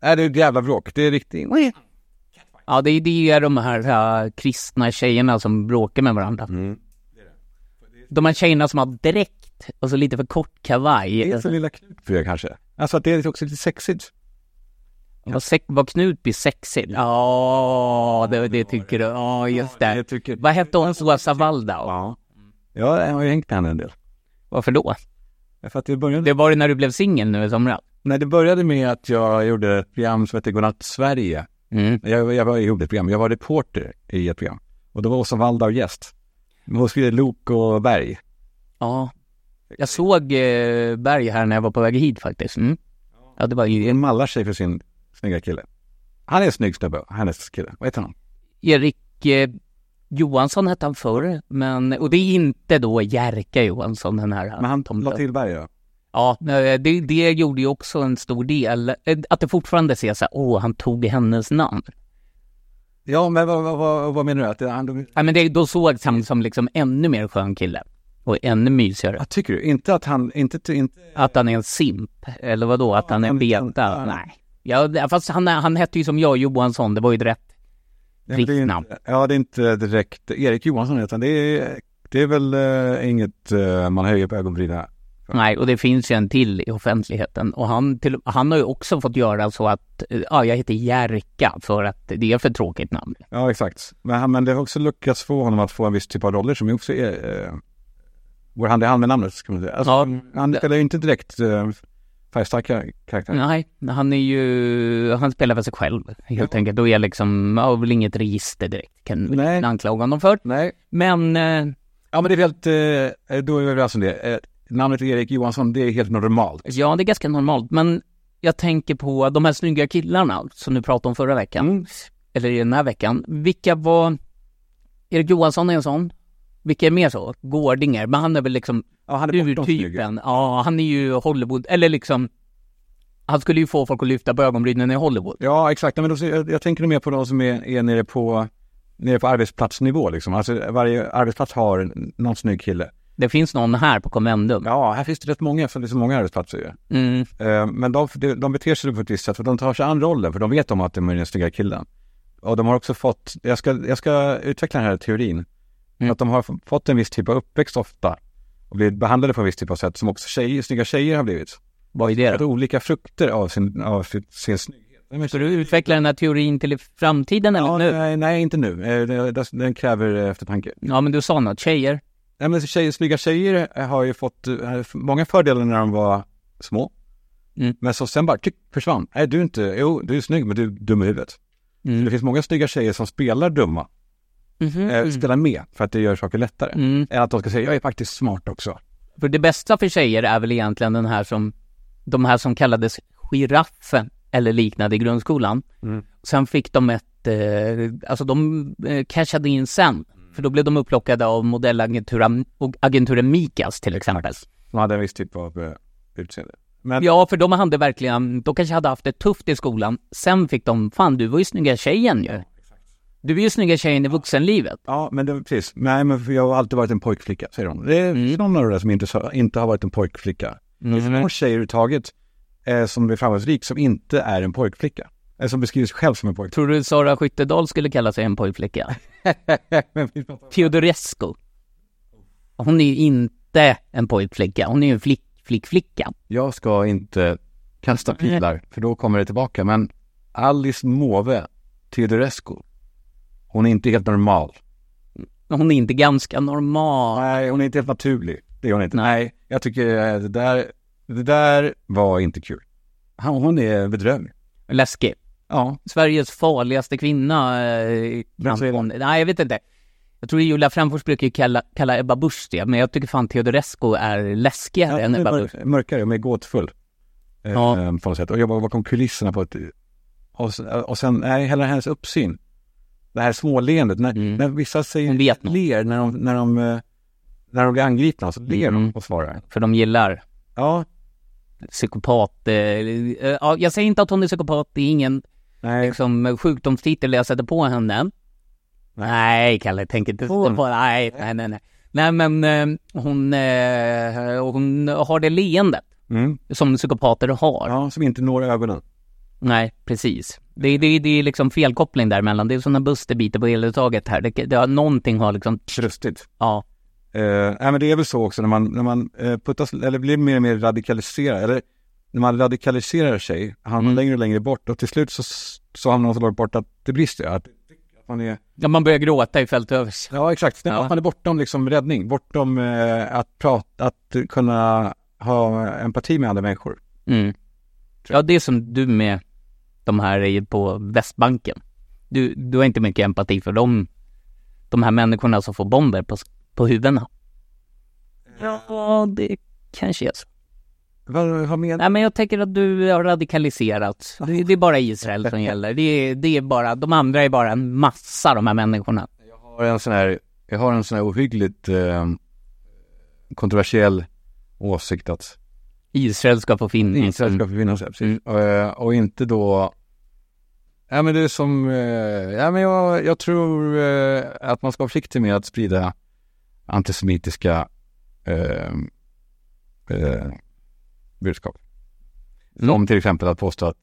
Speaker 1: Nej, det är ett jävla bråk. Det är riktigt...
Speaker 2: Ja, det är, det är de här äh, kristna tjejerna som bråkar med varandra.
Speaker 1: Mm.
Speaker 2: De här tjejerna som har dräkt och så lite för kort
Speaker 1: Det är
Speaker 2: kavaj.
Speaker 1: så lilla knut för er kanske. Alltså att det är också lite sexigt.
Speaker 2: Var, Alltså, sex, var Knutby sexig? Ja, det, det tycker du. Ja, just
Speaker 1: Ja, det
Speaker 2: det.
Speaker 1: tycker-
Speaker 2: Vad hette hon? Åsa Waldau?
Speaker 1: Ja. Ja, jag har ju hängt med henne en del.
Speaker 2: Varför då?
Speaker 1: För att det började...
Speaker 2: Det var det när du blev singel nu i somras?
Speaker 1: Nej, det började med att jag gjorde ett program som hette Godnatt Sverige.
Speaker 2: Mm.
Speaker 1: Jag, jag, var, jag gjorde ett program, jag var reporter i ett program. Och då var Åsa Waldau gäst. Men Hon skrev Lok och Berg.
Speaker 2: Ja. Jag såg eh, Berg här när jag var på väg hit faktiskt. Mm. Ja, det var ju
Speaker 1: Hon mallar sig för sin snygga kille. Han är en snygg snubbe, hennes kille. Vad heter han?
Speaker 2: Erik eh, Johansson hette han förr, men, och det är inte då Jerka Johansson den här
Speaker 1: Men han
Speaker 2: tomten.
Speaker 1: la till Berg ja.
Speaker 2: Ja, nej, det, det gjorde ju också en stor del, eh, att det fortfarande ses såhär, åh, han tog hennes namn.
Speaker 1: Ja, men vad, vad, vad, vad menar du? Att det, han,
Speaker 2: Ja, men det, då sågs han som liksom ännu mer skön kille. Och ännu mysigare.
Speaker 1: vad tycker du? Inte att han, inte, inte...
Speaker 2: Att han är en simp, eller vad då? Att han är en
Speaker 1: han-
Speaker 2: beta?
Speaker 1: han-
Speaker 2: Nej. Ja, fast han, han hette ju som jag, Johansson, det var ju ett rätt.
Speaker 1: Ja, men det är
Speaker 2: Riktigt
Speaker 1: inte-
Speaker 2: namn.
Speaker 1: Ja, det är inte direkt Erik Johansson utan det är, det är väl eh, inget eh, man höjer på ögonbrynen
Speaker 2: Nej, och det finns ju en till i offentligheten. Och han, till, han har ju också fått göra så att, eh, ja, jag heter Jerka för att det är för tråkigt namn.
Speaker 1: Ja, exakt. Men, han- men det har också lyckats få honom att få en viss typ av roller som ju också är... Eh, går hand i hand med namnet, kan man säga. Alltså,
Speaker 2: Ja.
Speaker 1: Han spelar ju inte direkt eh, färgstarka karaktärer.
Speaker 2: Nej, han är ju, han spelar för sig själv helt enkelt. Och är liksom, ja, väl inget register direkt kan vi
Speaker 1: Nej.
Speaker 2: inte anklaga honom för.
Speaker 1: Nej.
Speaker 2: Men, eh,
Speaker 1: Ja, men det är helt... Eh, då är vi överens om det. Eh, namnet Erik Johansson, det är helt normalt.
Speaker 2: ja, det är ganska normalt. Men jag tänker på de här snygga killarna som du pratade om förra veckan.
Speaker 1: Mm.
Speaker 2: Eller i den här veckan. Vilka var, Erik Johansson är en sån. Vilka är mer så? Gårdinger, men han är väl liksom
Speaker 1: Ja, han är bortom snygg.
Speaker 2: urtypen. Ja, han är ju Hollywood, eller liksom han skulle ju få folk att lyfta på ögonbrynen i Hollywood.
Speaker 1: Ja, exakt. Nej, Men då, jag, jag tänker nog mer på de som är, är nere, på, nere på arbetsplatsnivå. Liksom. Alltså, varje arbetsplats har en- någon snygg kille.
Speaker 2: Det finns någon här på Convendum.
Speaker 1: Ja, här finns det rätt många, för det är så många arbetsplatser ju.
Speaker 2: Mm.
Speaker 1: Eh, Men de, de de beter sig på ett visst sätt, för de tar sig an rollen, för de vet om att de är den snygga killen. Och de har också fått, jag ska, jag ska utveckla den här teorin,
Speaker 2: Mm.
Speaker 1: att de har f- fått en viss typ av uppväxt ofta och blivit behandlade på en viss typ av sätt som också tjejer, snygga tjejer har blivit.
Speaker 2: Vad är det
Speaker 1: Att
Speaker 2: då?
Speaker 1: olika frukter av sin, av sin, sin snygghet. Nej, men-
Speaker 2: Ska du utveckla den här teorin till i framtiden eller
Speaker 1: Ja,
Speaker 2: nu?
Speaker 1: nej, nej, inte nu. Eh, det- det- Den kräver eh, eftertanke.
Speaker 2: Ja, men du sa något. Tjejer?
Speaker 1: Nej, men alltså, tjejer, snygga tjejer eh, har ju fått eh, många fördelar när de var små.
Speaker 2: Mm.
Speaker 1: Men så sen bara tyck, försvann. Nej, du är inte, jo, du är snygg, men du är dum i huvudet. Det
Speaker 2: Mm.
Speaker 1: finns många snygga tjejer som spelar dumma,
Speaker 2: Mhm.
Speaker 1: eh, spelar med för att det gör saker lättare.
Speaker 2: Mm.
Speaker 1: Än att de ska säga, jag är faktiskt smart också.
Speaker 2: För det bästa för tjejer är väl egentligen den här som, de här som kallades giraffen eller liknande i grundskolan.
Speaker 1: Mm.
Speaker 2: Sen fick de ett, eh, alltså de eh, cashade in sen.
Speaker 1: Mm.
Speaker 2: För då blev de upplockade av modellagenturen och agenturen Mikas till exempel.
Speaker 1: De hade en viss typ av eh, utseende. Men
Speaker 2: Ja, för de hade verkligen, de kanske hade haft det tufft i skolan. Sen fick de, fan du var ju snygga tjejen ju. Du är ju snygga tjejen i vuxenlivet.
Speaker 1: Ja, men det, precis. Nej, men för jag har alltid varit en pojkflicka, säger de. Det är någon av de där som inte, sa- inte har varit en pojkflicka. Det är någon tjej överhuvudtaget eh, som är framgångsrik som inte är en pojkflicka. Eh, som beskriver sig själv som en pojkflicka.
Speaker 2: Tror du Sara Skyttedal skulle kalla sig en pojkflicka? Teodorescu. Hon är ju inte en pojkflicka, hon är ju en flick, flickflicka.
Speaker 1: jag ska inte kasta pilar, för då kommer det tillbaka. Men Alice Måwe Teodorescu, hon är inte helt normal.
Speaker 2: Hon är inte ganska normal.
Speaker 1: Nej, hon är inte helt naturlig. Det är hon inte.
Speaker 2: Nej.
Speaker 1: Jag tycker eh, det där, det där var inte kul. Han- Hon är bedrövlig.
Speaker 2: Läskig.
Speaker 1: Ja,
Speaker 2: Sveriges farligaste kvinna. Eh,
Speaker 1: Vem säger
Speaker 2: kan- Nej, jag vet inte. Jag tror Julia Framfors brukar ju kalla, kalla Ebba Busch det, men jag tycker fan Teodorescu är läskigare än
Speaker 1: Ja,
Speaker 2: Ebba
Speaker 1: mör-
Speaker 2: Busch.
Speaker 1: Mörkare, mer gåtfull. Eh,
Speaker 2: Ja.
Speaker 1: eh, På något sätt. Och jobbar bakom kulisserna på ett... Och, s- och sen, nej, hela hennes uppsyn. Det här småleendet. När,
Speaker 2: Mm.
Speaker 1: när vissa säger
Speaker 2: Hon vet något.
Speaker 1: ler när de, när, de, eh, när de blir angripna, så ler de
Speaker 2: Mm.
Speaker 1: och svarar.
Speaker 2: För de gillar
Speaker 1: Ja,
Speaker 2: psykopat. Eh, eh, ja, jag säger inte att hon är psykopat, det är ingen
Speaker 1: nej.
Speaker 2: liksom, sjukdomstitel jag sätter på henne. Nej, Kalle, tänk inte
Speaker 1: Hon.
Speaker 2: på nej, nej, nej, nej. Nej, men eh, hon, eh, hon har det leendet
Speaker 1: Mm.
Speaker 2: som psykopater har.
Speaker 1: Ja, som inte når ögonen.
Speaker 2: Nej, precis. Det, är- det, är- det är liksom felkoppling däremellan. Det är sådana busterbiter på eluttaget här. Det, det har, någonting har liksom...
Speaker 1: Krustigt.
Speaker 2: Ja.
Speaker 1: Eh, nej, men det är väl så också när man, när man eh, puttas, eller blir mer och mer radikaliserad, eller när man radikaliserar sig, hamnar
Speaker 2: Mm.
Speaker 1: längre och längre bort och till slut så, så hamnar man så långt bort att det brister. Att, att man är
Speaker 2: ja, man börjar gråta i fältövis.
Speaker 1: Ja, exakt.
Speaker 2: Ja.
Speaker 1: Att man är bortom liksom räddning, bortom eh, att, prata, att kunna ha empati med andra människor.
Speaker 2: Mm. Ja, det är som du med de här i- på Västbanken. Du, du har inte mycket empati för dem, de här människorna som får bomber på, på huvudena. Ja, det kanske är så.
Speaker 1: Vad, vad menar
Speaker 2: Nej, men jag tänker att du har radikaliserats. Det, det är bara Israel som gäller. Det, är- det är bara, de andra är bara en massa, de här människorna.
Speaker 1: Jag har en sån här, jag har en sån här ohyggligt eh, kontroversiell åsikt att
Speaker 2: Israel ska få finnas.
Speaker 1: Israel ska förvinnas. Mm. Och, och inte då... Ja, men det är som... Eh, ja, men jag, jag tror eh, att man ska vara försiktig med att sprida antisemitiska eh, eh, budskap.
Speaker 2: Mm.
Speaker 1: Som till exempel att påstå att...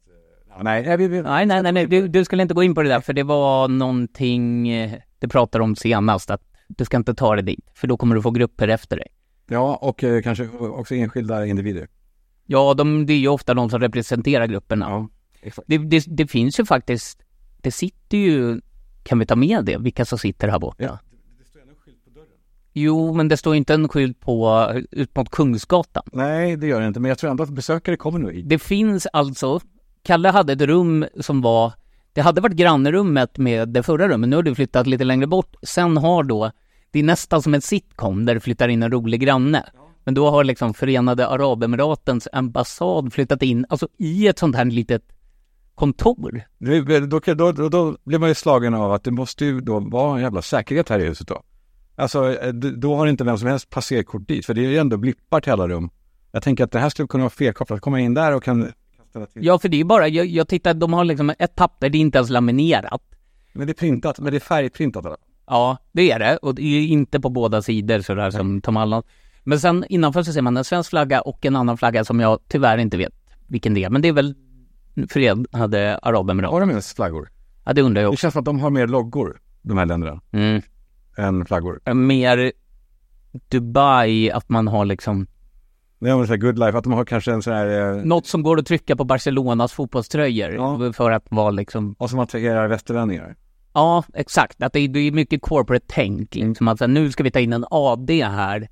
Speaker 1: Ja, nej, nej, vi, vi,
Speaker 2: Nej, nej, nej, nej. Du, du skulle inte gå in på det där, för det var någonting eh, du pratade om senast, att du ska inte ta dig dit, för då kommer du få grupper efter dig.
Speaker 1: Ja, och eh, kanske också enskilda individer.
Speaker 2: Ja, de, det är ju ofta de som representerar grupperna.
Speaker 1: Ja, exakt.
Speaker 2: Det, det, det finns ju faktiskt, det sitter ju, kan vi ta med det, vilka som sitter här borta?
Speaker 1: Ja.
Speaker 2: Jo, men det står ju inte en skylt på, ut mot Kungsgatan.
Speaker 1: Nej, det gör det inte, men jag tror ändå att besökare kommer nog hit.
Speaker 2: Det finns alltså, Kalle hade ett rum som var, det hade varit grannrummet med det förra rummet, nu har du flyttat lite längre bort. Sen har då, det är nästan som en sitcom där det flyttar in en rolig granne. Men då har liksom Förenade Arabemiratens ambassad flyttat in, alltså i ett sånt här litet kontor.
Speaker 1: Nu- Då, då, då, då blir man ju slagen av att det måste ju då vara en jävla säkerhet här i huset då. Alltså, eh, d- då har inte vem som helst passerkort dit, för det är ju ändå blippar till alla rum. Jag tänker att det här skulle kunna vara felkopplat, komma in där och kan... ställa till.
Speaker 2: Ja, för det är bara, jag, jag tittar, de har liksom ett papper, det är inte ens laminerat.
Speaker 1: Men det är printat, men det är färgprintat. Eller?
Speaker 2: Ja, det är det. Och det är ju inte på båda sidor sådär som Tom Allan. Men sen innanför så ser man en svensk flagga och en annan flagga som jag tyvärr inte vet vilken det är. Men det är väl Fred hade Arabemiraten.
Speaker 1: Har de ens flaggor?
Speaker 2: Ja, det undrar jag
Speaker 1: Det
Speaker 2: också.
Speaker 1: känns som att de har mer loggor, de här länderna,
Speaker 2: Mm.
Speaker 1: än flaggor.
Speaker 2: Mer Dubai, att man har liksom
Speaker 1: Det är väl så här good life, att de har kanske en sån här... Eh,
Speaker 2: något som går att trycka på Barcelonas fotbollströjor
Speaker 1: Ja.
Speaker 2: för att vara liksom
Speaker 1: och som attraherar västerlänningar.
Speaker 2: Ja, exakt. Att det, är- det är mycket corporate-tänk. Liksom. Att så här, nu ska vi ta in en AD här.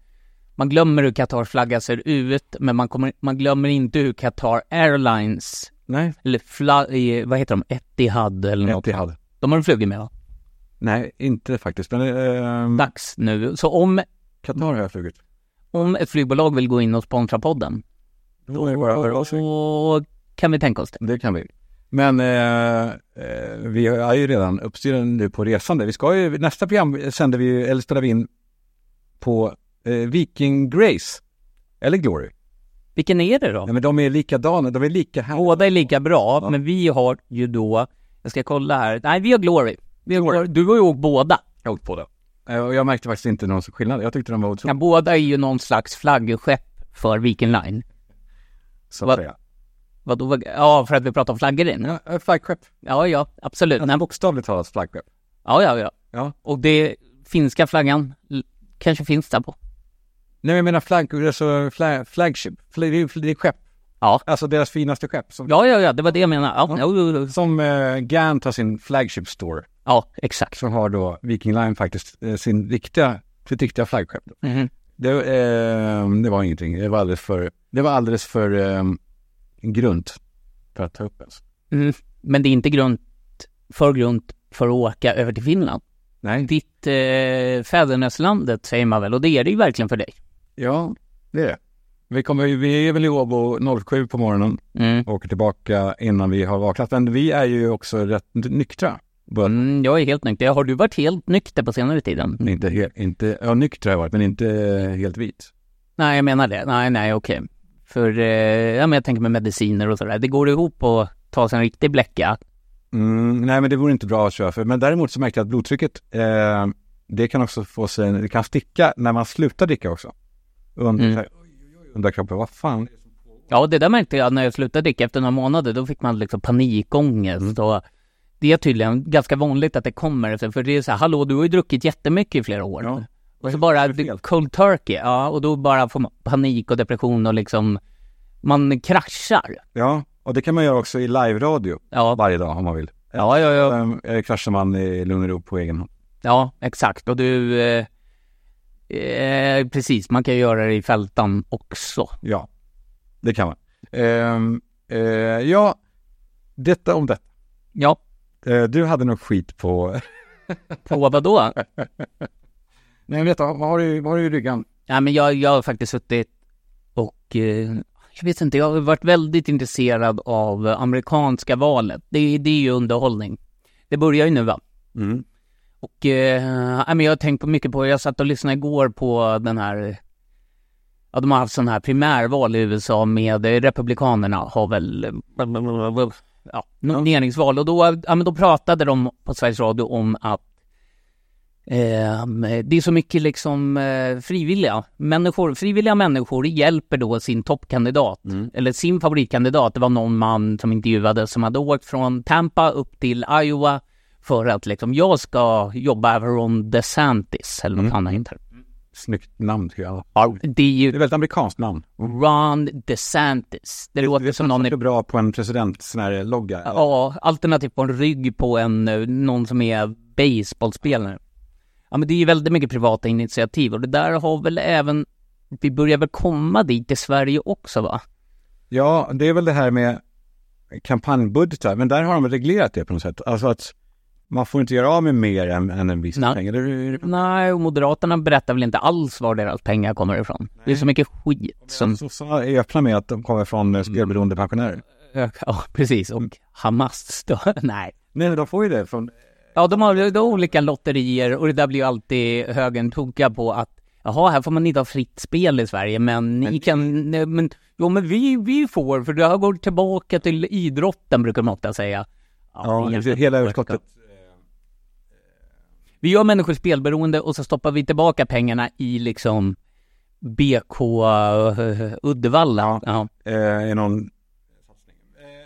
Speaker 2: Man glömmer hur Qatars flagga ser ut, men man, kommer, man glömmer inte hur Qatar Airlines,
Speaker 1: Nej,
Speaker 2: eller fla, eh, vad heter de, Etihad eller något.
Speaker 1: Etihad.
Speaker 2: De har du flugit med va?
Speaker 1: Nej, inte faktiskt. Men eh,
Speaker 2: Dags nu. Så om,
Speaker 1: Qatar har jag flugit.
Speaker 2: om ett flygbolag vill gå in och sponsra podden,
Speaker 1: Då är det bara att höra av sig.
Speaker 2: då kan vi tänka oss det.
Speaker 1: Det kan vi. Men eh, eh, vi är ju redan uppstyrda nu på resande. Vi ska ju, nästa program sänder vi ju, eller spelar vi in på eh, Viking Grace. Eller Glory.
Speaker 2: Vilken är det då?
Speaker 1: Nej men de är likadana, de är lika här.
Speaker 2: Båda är lika bra, men vi har ju då, jag ska kolla här, nej vi har Glory. Vi har
Speaker 1: Glory.
Speaker 2: Glory. Du har ju åkt båda.
Speaker 1: Jag har åkt på det. Eh, och jag märkte faktiskt inte någon skillnad. Jag tyckte de var
Speaker 2: Ja,
Speaker 1: otroliga.
Speaker 2: båda är ju någon slags flaggskepp för Viking Line.
Speaker 1: Så
Speaker 2: vad-
Speaker 1: att säga.
Speaker 2: Vadå? vad- Ja, för att vi pratar om flaggor innan.
Speaker 1: Ja, eh, flaggskepp.
Speaker 2: Ja, ja, absolut. Nej,
Speaker 1: Bokstavligt talat flaggskepp.
Speaker 2: Ja, ja, ja.
Speaker 1: Ja.
Speaker 2: Och det finska flaggan l- kanske finns där på.
Speaker 1: Nej men jag menar flagg, alltså flag, flagship. Fl- Det är, fl- det är skepp.
Speaker 2: Ja.
Speaker 1: Alltså deras finaste skepp. Som,
Speaker 2: Ja, ja, ja, det var det jag menade. Ja, ja. jo, jo, jo.
Speaker 1: som eh, Gant har sin flagship store.
Speaker 2: ja exakt.
Speaker 1: som har då Viking Line faktiskt eh, sin riktiga, sitt riktiga flaggskepp. då.
Speaker 2: Mhm.
Speaker 1: Det, eh, det var ingenting. Det var alldeles för, det var alldeles för eh, grunt för att ta upp ens.
Speaker 2: Mm. Men det är inte grunt, för grunt för att åka över till Finland.
Speaker 1: Nej.
Speaker 2: Ditt eh, fäderneslandet säger man väl, och det är det ju verkligen för dig.
Speaker 1: Ja, det är det. Vi, kommer, ju- vi är väl i Åbo 07 på morgonen
Speaker 2: Mm.
Speaker 1: och åker tillbaka innan vi har vaknat. Men vi är ju också rätt nyktra. But,
Speaker 2: Mm, jag är helt nykter. Har du varit helt nykter på senare tiden?
Speaker 1: inte, he- inte, ja, nyktra har jag varit, men inte eh, helt vit.
Speaker 2: Nej, jag menar det. Nej, nej, okej. För, eh, ja men jag tänker med mediciner och sådär. Det går ihop att ta sig en riktig bläcka.
Speaker 1: Mm, nej, men det vore inte bra att köra för. Men däremot så märkte jag att blodtrycket, eh, det kan också få sig, det kan sticka när man slutar dricka också. Under,
Speaker 2: Mm.
Speaker 1: mm. under kroppen, vad fan.
Speaker 2: Ja, det där märkte jag när jag slutade dricka efter några månader. Då fick man liksom panikångest
Speaker 1: Mm.
Speaker 2: och det är tydligen ganska vanligt att det kommer. efter- För det är så här, hallå, du har ju druckit jättemycket i flera år.
Speaker 1: Ja.
Speaker 2: Och så bara
Speaker 1: Vad är det för fel?
Speaker 2: cold turkey, ja, och då bara får man panik och depression och liksom, man kraschar.
Speaker 1: Ja, och det kan man göra också i live-radio
Speaker 2: Ja,
Speaker 1: varje dag om man vill.
Speaker 2: ja, ja, ja.
Speaker 1: Sen eh, kraschar man i lugn och ro på egen hand.
Speaker 2: Ja, exakt. Och du... Eh, eh, precis, man kan göra det i fältan också.
Speaker 1: Ja, det kan man. Ehm, eh, ja, detta om detta.
Speaker 2: Ja,
Speaker 1: Eh, du hade nog skit på...
Speaker 2: på vadå?
Speaker 1: Nej, men detta, vad har du, vad har du i ryggen?
Speaker 2: Nej, men jag, jag har faktiskt suttit och... Eh, jag vet inte, jag har varit väldigt intresserad av amerikanska valet. Det, det är ju underhållning. Det börjar ju nu va?
Speaker 1: Mm.
Speaker 2: Och eh, ja, men jag har tänkt på mycket på, jag satt och lyssnade igår på den här, ja de har haft sån här primärval i USA med eh, Republikanerna har väl, eh, ja, nomineringsval och då, ja, men då pratade de på Sveriges Radio om att eh, det är så mycket liksom eh, frivilliga människor, frivilliga människor hjälper då sin toppkandidat, eller sin favoritkandidat. Det var någon man som intervjuades som hade åkt från Tampa upp till Iowa för att liksom, jag ska jobba över om DeSantis eller vad han heter.
Speaker 1: snyggt namn tycker jag.
Speaker 2: Det är
Speaker 1: Det är
Speaker 2: ju
Speaker 1: ett väldigt amerikanskt namn.
Speaker 2: Ron DeSantis. Det, låter
Speaker 1: det
Speaker 2: som någon...
Speaker 1: är bra på en president sån här logga.
Speaker 2: Ja, alternativt på en rygg på en, eh, någon som är baseballspelare. Ja men det är ju väldigt mycket privata initiativ och det där har väl även, vi börjar väl komma dit i Sverige också va?
Speaker 1: Ja, det är väl det här med kampanjbudgetar, men där har de reglerat det på något sätt. Alltså att man får inte göra av med mer än, än en viss
Speaker 2: Nej.
Speaker 1: peng. Eller, hur är det?
Speaker 2: Nej, och Moderaterna berättar väl inte alls var deras pengar kommer ifrån. Det är så mycket skit som... Mm.
Speaker 1: Sossarna är öppna med att de kommer från eh, spelberoende pensionärer.
Speaker 2: Ja, precis. Och Hamas stör... Nej.
Speaker 1: Nej, men de får ju det från...
Speaker 2: Ja, de har, de har olika lotterier och det där blir ju alltid högern tokiga på att jaha, här får man inte ha fritt spel i Sverige, men ni kan... Nej, men, jo, men vi, vi får, för det här går tillbaka till idrotten, brukar de ofta säga.
Speaker 1: Ja,
Speaker 2: egentligen.
Speaker 1: hela överskottet.
Speaker 2: Vi gör människor spelberoende och så stoppar vi tillbaka pengarna i liksom BK eh, Uddevalla.
Speaker 1: Ja.
Speaker 2: Ja.
Speaker 1: eh, är någon... Eh,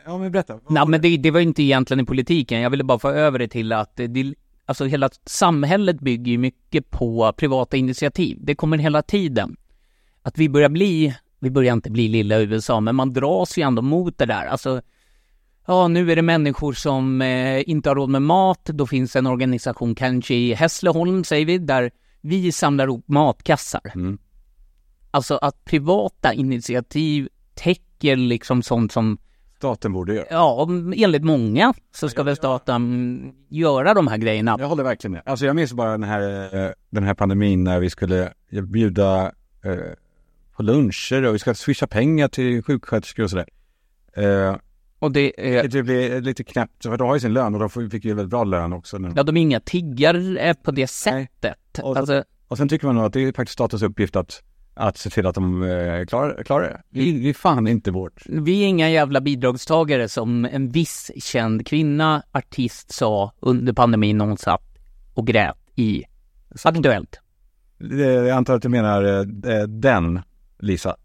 Speaker 1: Ja, men berätta. Vad-
Speaker 2: Nej men det, det var ju inte egentligen i politiken, jag ville bara få över det till att eh, det, alltså hela samhället bygger ju mycket på privata initiativ. Det kommer hela tiden. Att vi börjar bli, vi börjar inte bli lilla USA, men man dras ju ändå mot det där. Alltså, ja nu är det människor som eh, inte har råd med mat, då finns en organisation kanske i Hässleholm säger vi, där vi samlar ihop matkassar.
Speaker 1: Mm.
Speaker 2: Alltså att privata initiativ täcker liksom sånt som
Speaker 1: Staten borde göra.
Speaker 2: Ja, om- enligt många så ska väl staten mm, göra de här grejerna.
Speaker 1: Jag håller verkligen med. Alltså jag minns bara den här, eh, den här pandemin när vi skulle bjuda eh, på luncher och vi ska swisha pengar till sjuksköterskor och sådär. Eh,
Speaker 2: Och det är,
Speaker 1: det blir lite knäppt, för de har ju sin lön och de får- fick ju väldigt bra lön också. Nu.
Speaker 2: ja de är inga tiggare på det sättet.
Speaker 1: Och-
Speaker 2: Alltså,
Speaker 1: Och sen tycker man nog att det är faktiskt statens uppgift att, att se till att de eh, klarar, klarar det. Det är- det är fan inte vårt.
Speaker 2: vi är inga jävla bidragstagare som en viss känd kvinna, artist, sa under pandemin när hon satt och grät i Aktuellt.
Speaker 1: Det- Jag antar att du menar eh, eh, den, Lisa?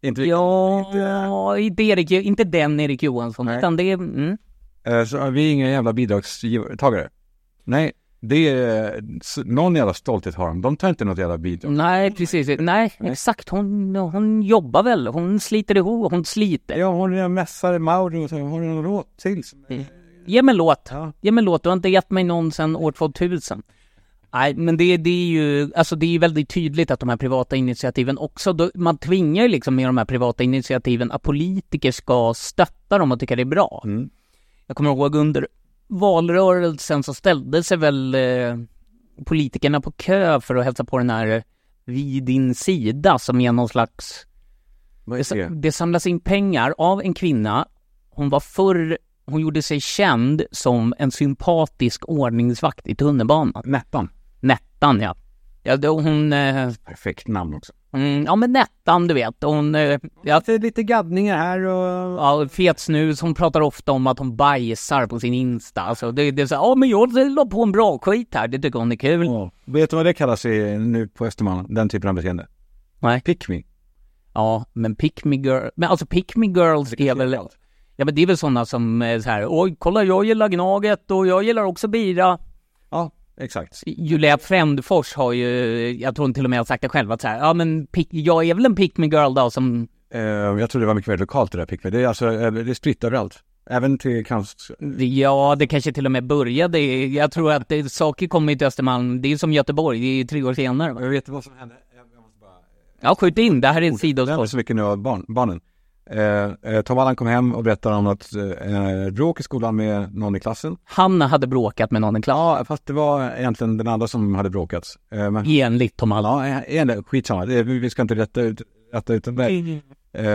Speaker 1: Inte vi.
Speaker 2: Ja, inte, Erik, inte den Erik Johansson,
Speaker 1: Nej.
Speaker 2: utan det är... Mm.
Speaker 1: Eh, Så vi är inga jävla bidragstagare. Nej, det är s- någon jävla stolthet har de. De tar inte något jävla bidrag.
Speaker 2: Nej, precis. Nej, exakt. Hon, hon jobbar väl. Hon sliter ihop. Hon sliter.
Speaker 1: Ja, hon är en mässare, Mauro, och så har hon någon låt till? som-
Speaker 2: Ge mig en låt.
Speaker 1: Ja.
Speaker 2: Ge mig en låt, du har inte gett mig någon sedan år 2000. Nej, men det, det är ju, alltså det är ju väldigt tydligt att de här privata initiativen också, då, man tvingar ju liksom med de här privata initiativen att politiker ska stötta dem och tycka det är bra.
Speaker 1: Mm.
Speaker 2: Jag kommer ihåg under valrörelsen så ställde sig väl eh, politikerna på kö för att hälsa på den här eh, Vid din sida som är någon slags
Speaker 1: Vad
Speaker 2: det,
Speaker 1: är
Speaker 2: sa-
Speaker 1: det?
Speaker 2: det samlas in pengar av en kvinna. Hon var förr, hon gjorde sig känd som en sympatisk ordningsvakt i tunnelbanan.
Speaker 1: Nettan.
Speaker 2: Nettan ja. ja då hon, eh,
Speaker 1: Perfekt namn också.
Speaker 2: mm, ja men Nettan du vet, hon, eh, ja,
Speaker 1: lite gaddningar här och...
Speaker 2: ja, fet snus, hon pratar ofta om att hon bajsar på sin Insta. Alltså det, det är så här, ja men jag la på en bra skit här, det tycker hon är kul.
Speaker 1: Vet du vad det kallas i, nu på Östermalm? Den typen av beteende?
Speaker 2: Nej.
Speaker 1: Pick me.
Speaker 2: Ja, men pick me girl, men alltså pick me girls är väl, ja men det är väl sådana som eh, så här, oj kolla jag gillar Gnaget och jag gillar också bira.
Speaker 1: Ja, exakt.
Speaker 2: Julia Frändfors har ju, jag tror hon till och med har sagt det själv, att så här, ja men pick, jag är väl en pick me girl då som,
Speaker 1: Eh, jag tror det var mycket mer lokalt det där pick me. Det är alltså, eh, det är spritt överallt. Även till kanske...
Speaker 2: ja det kanske till och med började, i- jag tror att det, saker kommer ju till Östermalm, det är ju som Göteborg, det är ju tre år senare. va?
Speaker 1: Jag vet vad som hände. Jag måste bara...
Speaker 2: Ja skjut in, det här är en
Speaker 1: Det här var
Speaker 2: sidospår.
Speaker 1: så mycket nu av barn, barnen. Eh, eh, Tom Allan kom hem och berättade om att eh, bråk i skolan med någon i klassen.
Speaker 2: Hanna hade bråkat med någon i klassen,
Speaker 1: Ja, fast det var egentligen den andra som hade bråkat. Eh, men
Speaker 2: enligt Tom Allan.
Speaker 1: ja, eh, eh, skitsamma. Det, vi vi ska inte rätta ut, rätta ut den där.
Speaker 2: Mm.
Speaker 1: Eh,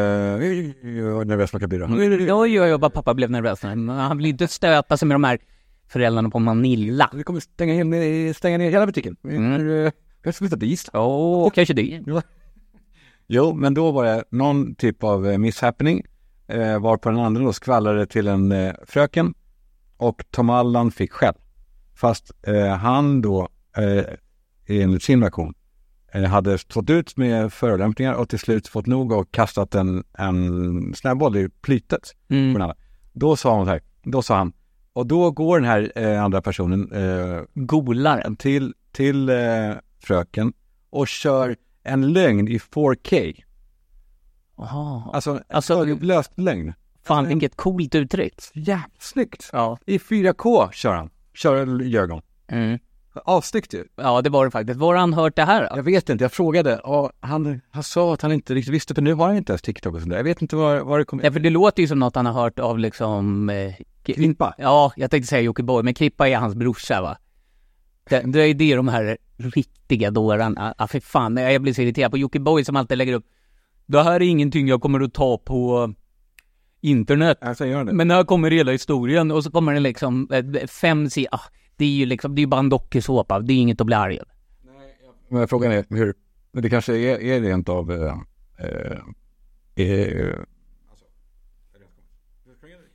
Speaker 1: jag är nervös för att bli
Speaker 2: Oj oj oj vad pappa blev nervös nu. Men han vill inte stöta sig med de här föräldrarna på Manilla.
Speaker 1: Vi kommer stänga, in, eh, stänga ner hela butiken. Vi
Speaker 2: Mm.
Speaker 1: mm. jag ska flytta till Island.
Speaker 2: Åh, kanske det.
Speaker 1: Jo, men då var det någon typ av eh, mishappening. Eh, varpå den andra då skvallrade till en eh, fröken. Och Tom Allan fick skäll. Fast eh, han då, eh, enligt sin version, eh, hade stått ut med förolämpningar och till slut fått nog och kastat en, en snöboll i plytet. på
Speaker 2: Mm.
Speaker 1: den andra. Då sa hon så här, då sa han, och då går den här eh, andra personen eh,
Speaker 2: Golare.
Speaker 1: till, till eh, fröken och kör en lögn i 4K.
Speaker 2: Jaha.
Speaker 1: Alltså en
Speaker 2: Alltså-
Speaker 1: ögonblöt lögn.
Speaker 2: Fan, vilket coolt uttryck.
Speaker 1: Jävligt snyggt!
Speaker 2: Ja.
Speaker 1: I 4K kör han. Kör Jörgen.
Speaker 2: Mm.
Speaker 1: Avsnyggt ju.
Speaker 2: Ja, det var det faktiskt. Var har han hört det här då?
Speaker 1: Jag vet inte, jag frågade och han, han sa att han inte riktigt visste för nu har han inte ens TikTok och sånt där. Jag vet inte var, var det kommer
Speaker 2: Nej, för det låter ju som något han har hört av liksom... Eh, Ki-
Speaker 1: Klimpa.
Speaker 2: Ja, jag tänkte säga Jocke Borg, men Klippa är hans brorsa va? Det, det är ju det de här riktiga dårarna, ah fy fan, jag blir så irriterad på Jocke Borg som alltid lägger upp Det här är ingenting jag kommer att ta på internet,
Speaker 1: Alltså, gör han det?
Speaker 2: men här kommer hela historien och så kommer det liksom eh, fem sidor, ah, det är ju liksom, det är ju bara en dokusåpa, det är inget att bli arg över.
Speaker 1: Men frågan är hur, men det kanske är, är rent av... Eh, eh, eh,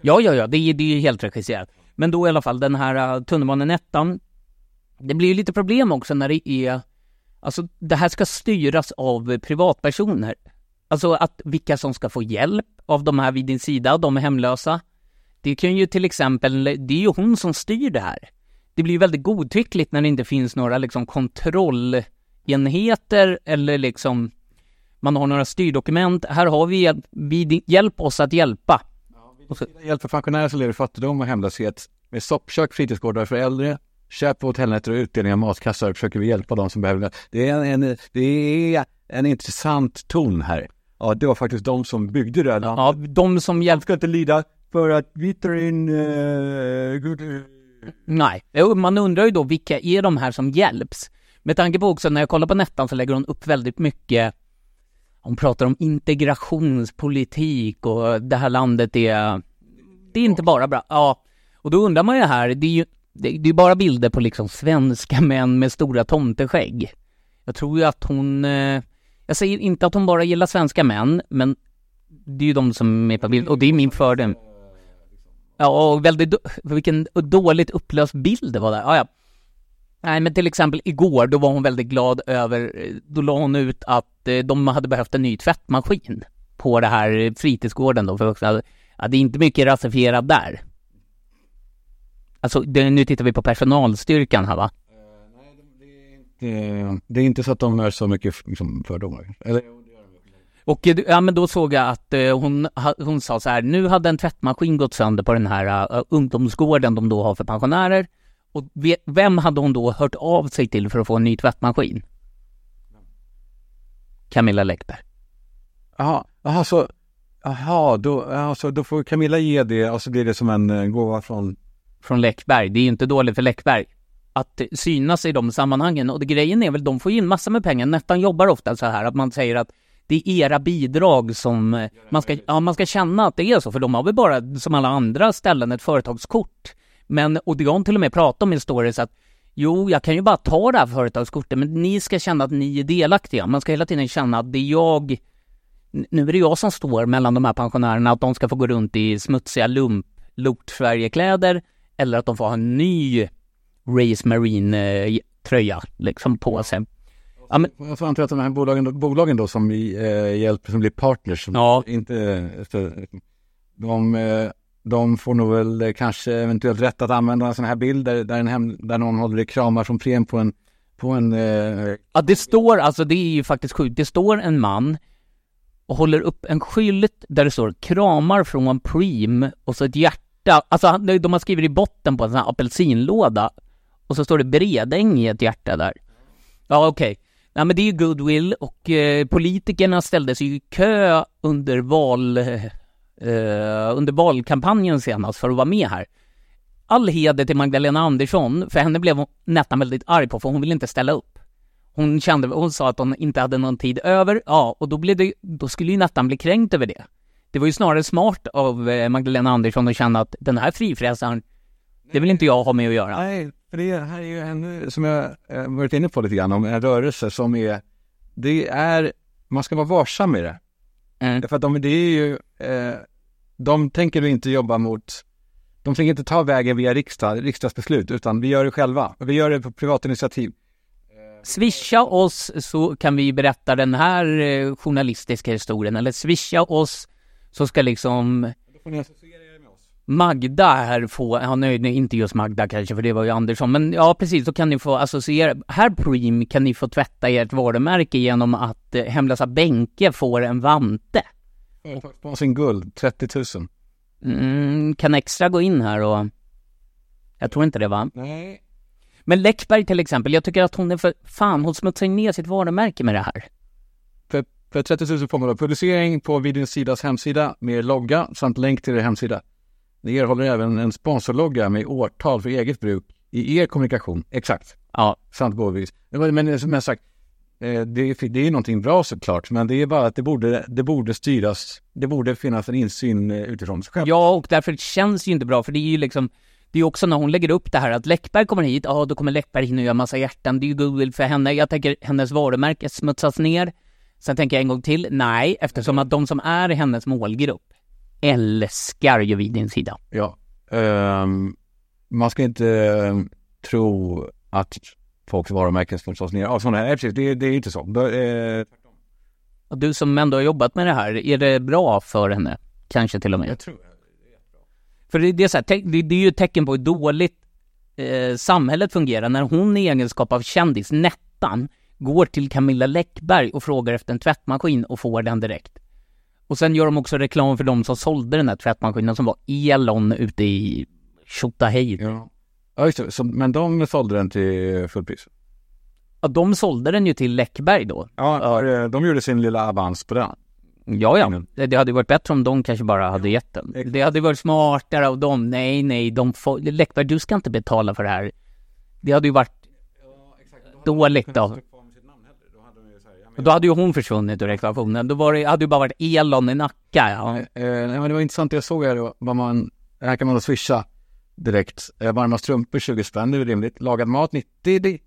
Speaker 2: Ja, ja, ja, det är, det är ju helt regisserat. Men då i alla fall, den här uh, tunnelbanenettan. Det blir ju lite problem också när det är... Alltså, det här ska styras av eh, privatpersoner. Alltså att vilka som ska få hjälp av de här vid din sida, de är hemlösa. Det kan ju till exempel, det är ju hon som styr det här. Det blir ju väldigt godtyckligt när det inte finns några liksom kontrollenheter eller liksom man har några styrdokument. Här har vi hjälp, vid- hjälp oss att hjälpa.
Speaker 1: Hjälp för pensionärer som lever i fattigdom och hemlöshet med soppkök, fritidsgårdar för äldre, köp på hotellnätter och utdelning av matkassar försöker vi hjälpa de som behöver. Det är en, en, det är en intressant ton här. Ja, det var faktiskt de som byggde det. Ja.
Speaker 2: Ja, de som hjälpte
Speaker 1: ska inte lida för att vi tar in... eh, good-
Speaker 2: Nej, Jo, man undrar ju då vilka är de här som hjälps? Med tanke på också när jag kollar på Nettan så lägger hon upp väldigt mycket Hon pratar om integrationspolitik och det här landet är Det är inte bara bra, ja Och då undrar man ju här, det är ju det, det är bara bilder på liksom svenska män med stora tomteskägg Jag tror ju att hon eh, Jag säger inte att hon bara gillar svenska män, men Det är ju de som är på bild, och det är min fördom Ja, och väldigt, då- vilken dåligt upplöst bild det var där. Ja, ja. Nej, men till exempel igår, då var hon väldigt glad över, eh, då la hon ut att eh, de hade behövt en ny tvättmaskin på det här eh, fritidsgården då, för vuxna. Ja, det är inte mycket rasifierat där. Alltså, det, nu tittar vi på personalstyrkan här va?
Speaker 1: Det, eh, det är inte så att de är så mycket liksom, fördomar. Eller,
Speaker 2: Och eh, ja, men då såg jag att eh, hon, ha- hon sa så här, nu hade en tvättmaskin gått sönder på den här eh, ungdomsgården de då har för pensionärer. Och ve- vem hade hon då hört av sig till för att få en ny tvättmaskin? Camilla Läckberg.
Speaker 1: aha, aha, så, aha, då, aha, så då får Camilla ge det och så blir det som en eh, gåva från...
Speaker 2: Från Läckberg. Det är ju inte dåligt för Läckberg att eh, synas i de sammanhangen. Och det, grejen är väl, de får ju in massor med pengar. Nettan jobbar ofta så här att man säger att det är era bidrag som eh, man ska, ja, man ska känna att det är så, för de har väl bara som alla andra ställen ett företagskort. Men, och det har hon till och med pratat om i stories att jo, jag kan ju bara ta det här företagskortet, men ni ska känna att ni är delaktiga. Man ska hela tiden känna att det är jag, n- nu är det jag som står mellan de här pensionärerna, att de ska få gå runt i smutsiga lump, lort Sverigekläder eller att de får ha en ny Race Marine eh, tröja liksom på sig.
Speaker 1: Jag får anta att de här bolagen, bolagen då som vi eh, hjälper, som blir partners, som
Speaker 2: Ja.
Speaker 1: inte... För, de, eh, de får nog väl eh, kanske eventuellt rätt att använda en sån här bild där, där, en hem, där någon håller i kramar som pren på en... På en eh,
Speaker 2: Ja, det står, alltså det är ju faktiskt sjukt, det står en man och håller upp en skylt där det står kramar från Preem och så ett hjärta, alltså han- de har skrivit i botten på en sån här apelsinlåda och så står det Bredäng i ett hjärta där. Ja, okej. Ja, men det är ju goodwill och eh, politikerna ställde sig ju i kö under val, eh, eh, under valkampanjen senast för att vara med här. All heder till Magdalena Andersson, för henne blev hon nästan väldigt arg på för hon ville inte ställa upp. Hon kände, hon sa att hon inte hade någon tid över, ja, och då blev det, då skulle ju Nattan bli kränkt över det. Det var ju snarare smart av eh, Magdalena Andersson att känna att den här frifräsaren, det vill inte jag ha med att göra.
Speaker 1: Nej, för det här är ju en, som jag eh, varit inne på lite grann, om en rörelse som är, det är, man ska vara varsam i det.
Speaker 2: Mm.
Speaker 1: För att de, det är ju, eh, de tänker ju inte jobba mot, de tänker inte ta vägen via riksdag, riksdagsbeslut, utan vi gör det själva. Vi gör det på privat initiativ.
Speaker 2: Swisha oss så kan vi berätta den här eh, journalistiska historien, eller swisha oss så ska liksom
Speaker 1: Då får ni associera er med oss.
Speaker 2: Magda här får, ja nej, nej inte just Magda kanske för det var ju Andersson, men ja precis, så kan ni få associera, här Preem kan ni få tvätta ert varumärke genom att eh, hemlösa Benke får en vante.
Speaker 1: Sponsring guld, 30 000.
Speaker 2: Mm, kan Extra gå in här och... Jag tror inte det va?
Speaker 1: Nej.
Speaker 2: Men Läckberg till exempel, jag tycker att hon är för... Fan, hon smutsar ju ner sitt varumärke med det här.
Speaker 1: För, för 30 000 får man då publicering på videons sidas hemsida med logga samt länk till er hemsida. Ni erhåller även en sponsorlogga med årtal för eget bruk i er kommunikation. Exakt.
Speaker 2: Ja,
Speaker 1: Sant gåvovis. Men men som jag sagt, eh, det, är- det är någonting bra såklart, men det är bara att det borde, det borde styras. Det borde finnas en insyn eh, utifrån. Själv.
Speaker 2: Ja, och därför känns det ju inte bra, för det är ju liksom det är ju också när hon lägger upp det här att Läckberg kommer hit, ja då kommer Läckberg hinna göra massa hjärtan, det är ju goodwill för henne. Jag tänker hennes varumärke smutsas ner. Sen tänker jag en gång till, nej, eftersom att de som är hennes målgrupp älskar ju vid din sida.
Speaker 1: Ja. Ehm, man ska inte eh, tro att folks varumärken smutsas ner av sådana här. Nej, Precis, det, det är inte så. Då, eh,
Speaker 2: Och du som ändå har jobbat med det här, är det bra för henne? Kanske till och med.
Speaker 1: tror
Speaker 2: För det, det, är så här, te- det, det är ju ett tecken på hur dåligt eh, samhället fungerar när hon i egenskap av kändis, Nettan, går till Camilla Läckberg och frågar efter en tvättmaskin och får den direkt. Och sen gör de också reklam för de som sålde den här tvättmaskinen som var Elon ute i Tjotahej.
Speaker 1: Ja. Ja, just det. Så, men de sålde den till fullpris.
Speaker 2: Ja, de sålde den ju till Läckberg då.
Speaker 1: Ja, eh, de gjorde sin lilla avans på den.
Speaker 2: Ja, ja. Det- Det hade ju varit bättre om de kanske bara hade gett den.
Speaker 1: exakt.
Speaker 2: Det hade ju varit smartare av dem. Nej, nej, de får... Läckberg, du ska inte betala för det här. Det hade ju varit dåligt av Då hade ju hon försvunnit ur reklamationen. Då var det, hade ju bara varit Elon i Nacka. Ja.
Speaker 1: Eh, nej, men det var intressant, jag såg här då, vad man, här kan man då swisha direkt. Eh, varma strumpor 20 spänn, det är rimligt. Lagad mat 90, det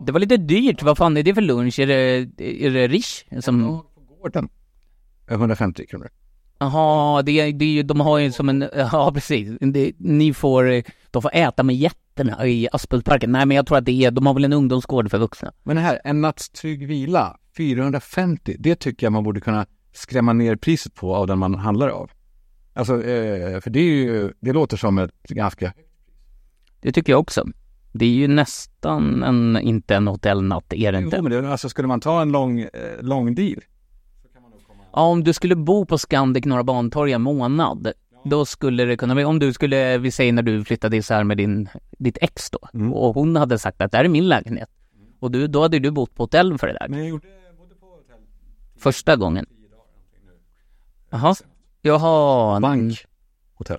Speaker 2: Det var lite dyrt. Vad fan är det för lunch? Är det, är det Rish? Som,
Speaker 1: på gården. Eh, 150 kronor.
Speaker 2: jaha, det, det, är ju- de har ju som en... Ja, precis. Det, ni får... eh, De får äta med jätterna i Aspudparken. Nej, men jag tror att det är... De har väl en ungdomsgård för vuxna.
Speaker 1: Men det här, en natts trygg vila, 450, det tycker jag man borde kunna skrämma ner priset på av den man handlar av. Alltså, eh, för det är ju, det låter som ett ganska
Speaker 2: Det tycker jag också. Det är ju nästan en... Inte en hotellnatt, är det
Speaker 1: Jo,
Speaker 2: inte?
Speaker 1: men det, alltså skulle man ta en lång, eh, lång deal?
Speaker 2: Ja, om du skulle bo på Scandic Norra Bantorg en månad, då skulle det kunna bli, om du skulle, vi säger när du flyttade isär med din, ditt ex då,
Speaker 1: Mm.
Speaker 2: och hon hade sagt att det här är min lägenhet. Och du, då hade du bott på hotell för det där,
Speaker 1: Men jag gjorde...
Speaker 2: första gången. Jaha. Jaha.
Speaker 1: Bank. Hotell.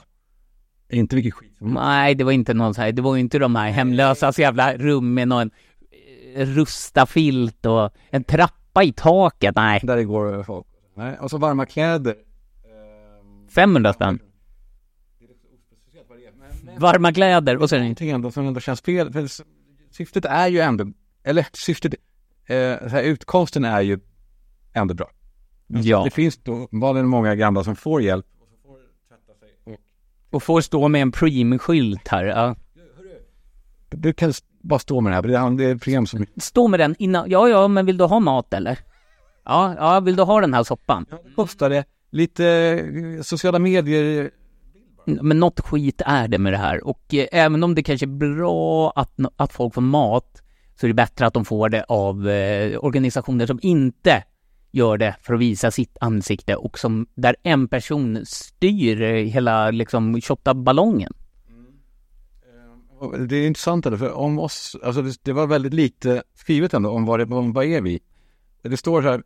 Speaker 1: Inte vilket skit.
Speaker 2: Nej, det var inte någon så här, det var ju inte de här hemlösas jävla rum med någon eh, rustafilt och en trappa i taket. Nej,
Speaker 1: Där det går folk. Nej, och så varma kläder. Ehm,
Speaker 2: 500 spänn. Varma kläder och sen
Speaker 1: Någonting ändå som ändå känns fel. För s- syftet är ju ändå, eller syftet, eh, så här, utkomsten är ju ändå bra.
Speaker 2: Ja.
Speaker 1: Det finns då uppenbarligen många gamla som får hjälp.
Speaker 2: Och får stå med en Preem-skylt här. Ja.
Speaker 1: Du kan s- bara stå med det här, för det är- det är ett program som...
Speaker 2: Stå med den innan. Ja, ja, men vill du ha mat eller? Ja, ja, vill du ha den här soppan?
Speaker 1: Kostar det lite eh, sociala medier
Speaker 2: N- Men något skit är det med det här. Och eh, även om det kanske är bra att, n- att folk får mat, så är det bättre att de får det av eh, organisationer som inte gör det för att visa sitt ansikte och som, där en person styr eh, hela liksom ballongen.
Speaker 1: Och Det är intressant ändå, för om oss, alltså det, det var väldigt lite skrivet ändå om vad, det, om vad är vi? Det står så här,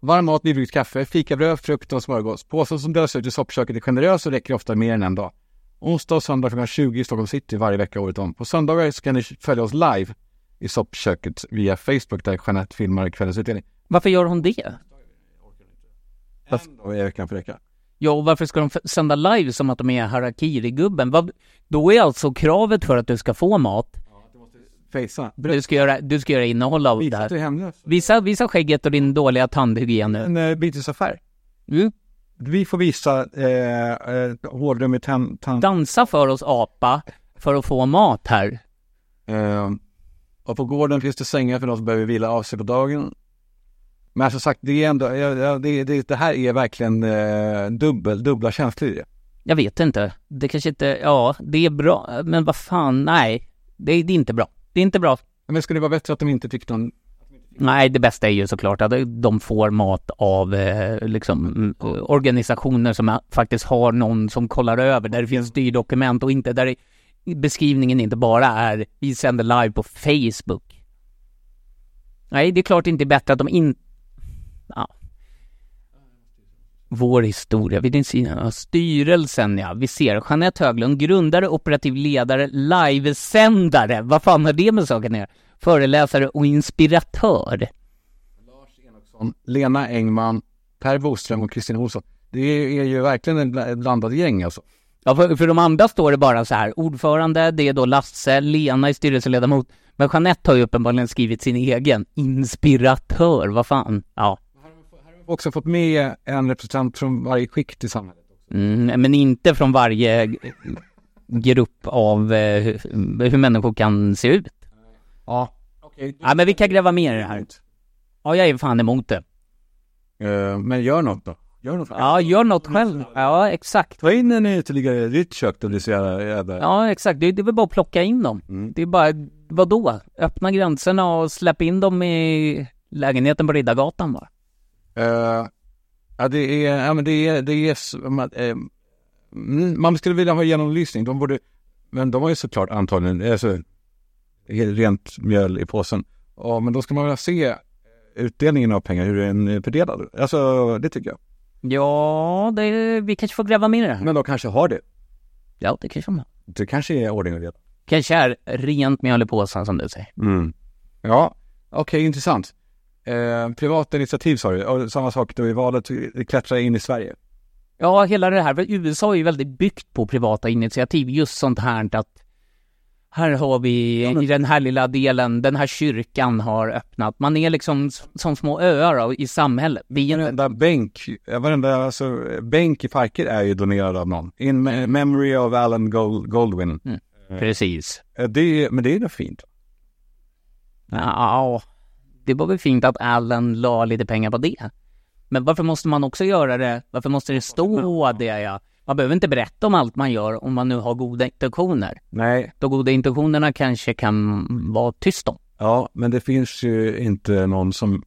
Speaker 1: varm mat, nybryggt kaffe, fikabröd, frukt och smörgås. Påsen som delas ut i soppköket är generös och räcker ofta mer än en dag. Onsdag och söndag klockan 20 i Stockholm city varje vecka året om. På söndagar så kan ni följa oss live i soppköket via Facebook där Jeanette filmar kvällens utdelning.
Speaker 2: Varför gör hon det?
Speaker 1: En dag i veckan för vecka.
Speaker 2: Ja, och varför ska de f- sända live som att de är harakiri-gubben? Vad- Då är alltså kravet för att du ska få mat,
Speaker 1: Fejsa.
Speaker 2: du ska göra, du ska göra innehåll av det
Speaker 1: Visa att
Speaker 2: här.
Speaker 1: du är hemlös.
Speaker 2: Visa, visa skägget och din dåliga tandhygien nu.
Speaker 1: En eh, bytesaffär.
Speaker 2: Mm.
Speaker 1: Vi får visa eh, eh, hårdrum i tan- tan-
Speaker 2: Dansa för oss apa, för att få mat här.
Speaker 1: Eh, och på gården finns det sängar för de som behöver vila av sig på dagen. Men som sagt, det, är ändå, ja, ja, det, det, det här är verkligen eh, dubbel, dubbla känslor i det.
Speaker 2: Jag vet inte. Det kanske inte, ja, det är bra, men vad fan, nej. Det, det är inte bra. Det är inte bra.
Speaker 1: Men skulle det vara bättre att de inte fick någon...
Speaker 2: Nej, det bästa är ju såklart att de får mat av eh, liksom, mm, organisationer som faktiskt har någon som kollar över, där det finns styrdokument och inte där det, beskrivningen inte bara är vi sänder live på Facebook. Nej, det är klart inte bättre att de inte... Ja. Vår historia, vid din sida. Ja, Styrelsen ja, vi ser. Jeanette Höglund, grundare, operativ ledare, livesändare. Vad fan har det med saken att göra? Föreläsare och inspiratör.
Speaker 1: Lena Engman, Per Boström och Kristina Olsson. Det är ju verkligen en bla- ett blandat gäng alltså.
Speaker 2: Ja, för, för de andra står det bara så här, ordförande, det är då Lasse, Lena är styrelseledamot. Men Jeanette har ju uppenbarligen skrivit sin egen. Inspiratör, vad fan. Ja.
Speaker 1: Också fått med en representant från varje skikt i samhället.
Speaker 2: Mm, men inte från varje g- grupp av eh, hur, hur människor kan se ut.
Speaker 1: Ja. Okej.
Speaker 2: Ja, men vi kan gräva mer i det här. Ja, jag är fan emot det.
Speaker 1: Eh, men gör något då. Gör något.
Speaker 2: Ja, gör något själv. Ja, exakt.
Speaker 1: Ta in en ytterligare i ditt kök då, det är så jävla... jävla-
Speaker 2: Ja, exakt. Det, det är väl bara att plocka in dem.
Speaker 1: Mm.
Speaker 2: Det är bara, vadå? Öppna gränserna och släpp in dem i lägenheten på Riddargatan bara.
Speaker 1: Eh, ja, det är, ja, men det är, det är, s- man, eh, mm, man skulle vilja ha genomlysning. De borde, men de har ju såklart antagligen, alltså, helt rent mjöl i påsen. Ja, men då ska man väl se eh, utdelningen av pengar, hur den är fördelad. Alltså, det tycker jag.
Speaker 2: Ja, det, vi kanske får gräva mer i det här.
Speaker 1: Men de kanske har det.
Speaker 2: Ja, det kanske man.
Speaker 1: Det kanske är ordning och reda.
Speaker 2: Kanske är rent mjöl i påsen som du säger.
Speaker 1: Ja, okej, intressant. Eh, privata initiativ sa du, och samma sak då i valet, klättra in i Sverige.
Speaker 2: Ja, hela det här. för USA är ju väldigt byggt på privata initiativ. Just sånt här att här har vi i den här lilla delen, den här kyrkan har öppnat. Man är liksom s- som små öar då, i samhället. Vi är,
Speaker 1: Varenda bänk, eh, varenda alltså, bänk i parker är ju donerad av någon. In me- memory of Alan Gold, Goldwyn.
Speaker 2: precis.
Speaker 1: Eh, Det är, men det är ju fint.
Speaker 2: Ja, det var väl fint att Allen la lite pengar på det. Men varför måste man också göra det? Varför måste det stå det? Ja? Man behöver inte berätta om allt man gör om man nu har goda intentioner.
Speaker 1: Nej.
Speaker 2: De goda intentionerna kanske kan vara tyst om.
Speaker 1: Ja, men det finns ju inte någon som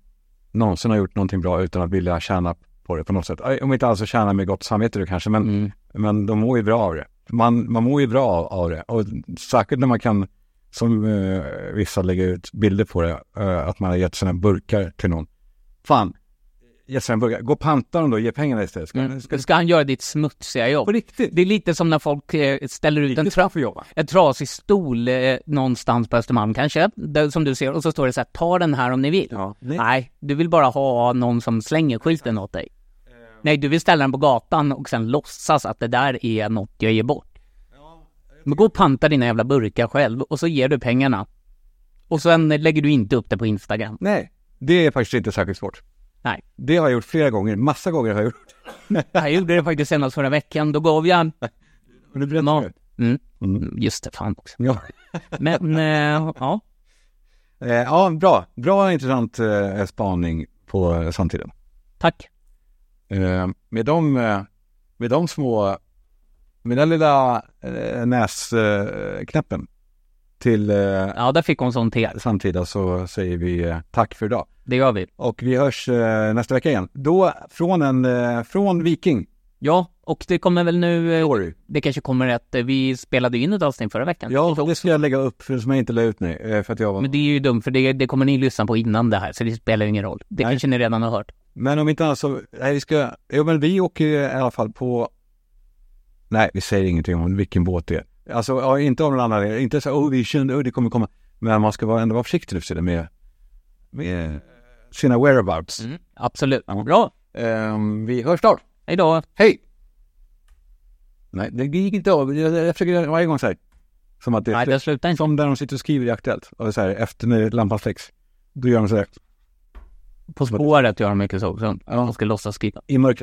Speaker 1: någonsin har gjort någonting bra utan att vilja tjäna på det på något sätt. Eh, Om inte alls att tjäna med gott samvete då kanske, men, men de mår ju bra av det. Man, man mår ju bra av, av det. Och särskilt när man kan, som eh, vissa lägger ut bilder på det, eh, att man har gett sina burkar till någon. Fan, gett sina burkar. Gå och panta dem då, ge pengarna istället. Ska, ska,
Speaker 2: Ska han göra ditt smutsiga jobb?
Speaker 1: på riktigt.
Speaker 2: Det är lite som när folk eh, ställer ut en, tra-
Speaker 1: för jobba.
Speaker 2: en trasig stol eh, någonstans på Östermalm kanske, där, som du ser, och så står det så här, ta den här om ni vill.
Speaker 1: Ja.
Speaker 2: Nej.
Speaker 1: Nej.
Speaker 2: du vill bara ha någon som slänger skylten åt dig. Nej, du vill ställa den på gatan och sen låtsas att det där är något jag ger bort. Men gå och panta dina jävla burkar själv och så ger du pengarna. Och sen lägger du inte upp det på Instagram.
Speaker 1: Nej, det är faktiskt inte särskilt svårt.
Speaker 2: Nej.
Speaker 1: Det har jag gjort flera gånger, massa gånger har jag gjort.
Speaker 2: Jag gjorde det faktiskt senast förra veckan, då gav jag...
Speaker 1: Och det blir
Speaker 2: Ja. Mm. Just det, fan också.
Speaker 1: Ja.
Speaker 2: Men, eh, ja.
Speaker 1: Eh, ja, bra. Bra intressant eh, spaning på eh, samtiden.
Speaker 2: Tack.
Speaker 1: Eh, med, de, eh, med de små, med den lilla eh, näsknäppen eh, knäppen till eh,
Speaker 2: Ja, där fick hon sån te.
Speaker 1: samtida så säger vi eh, tack för idag.
Speaker 2: Det gör vi.
Speaker 1: Och vi hörs eh, nästa vecka igen. Då från en, eh, från Viking.
Speaker 2: Ja, och det kommer väl nu... eh,
Speaker 1: Sorry.
Speaker 2: Det kanske kommer att eh, vi spelade ju in ett avsnitt förra veckan.
Speaker 1: Ja, det ska jag lägga upp för som jag inte la ut nu. eh, För att jag var...
Speaker 2: Men det är ju dumt, för det, det kommer ni lyssna på innan det här, så det spelar ju ingen roll. Det kanske ni redan har hört.
Speaker 1: Men om inte annat så, nej vi ska, jo men vi åker ju i alla fall på, nej vi säger ingenting om vilken båt det är. Alltså ja, inte av någon annan, inte så oh vi kände, oh det kommer komma. Men man ska vara, ändå vara försiktig nu för tiden med, med sina whereabouts.
Speaker 2: Mm. Absolut. Bra.
Speaker 1: Ehm, vi hörs snart,
Speaker 2: Hej då.
Speaker 1: hej! Nej, det gick inte av, jag, jag försöker göra varje gång så här. Som att det,
Speaker 2: Nej, det slutar inte.
Speaker 1: som där de sitter och skriver i Aktuellt, och så här efter när lampan släcks. Då gör de så här,
Speaker 2: På spåret gör de mycket så också.
Speaker 1: Ja.
Speaker 2: De ska låtsas skriva.
Speaker 1: i mörkret.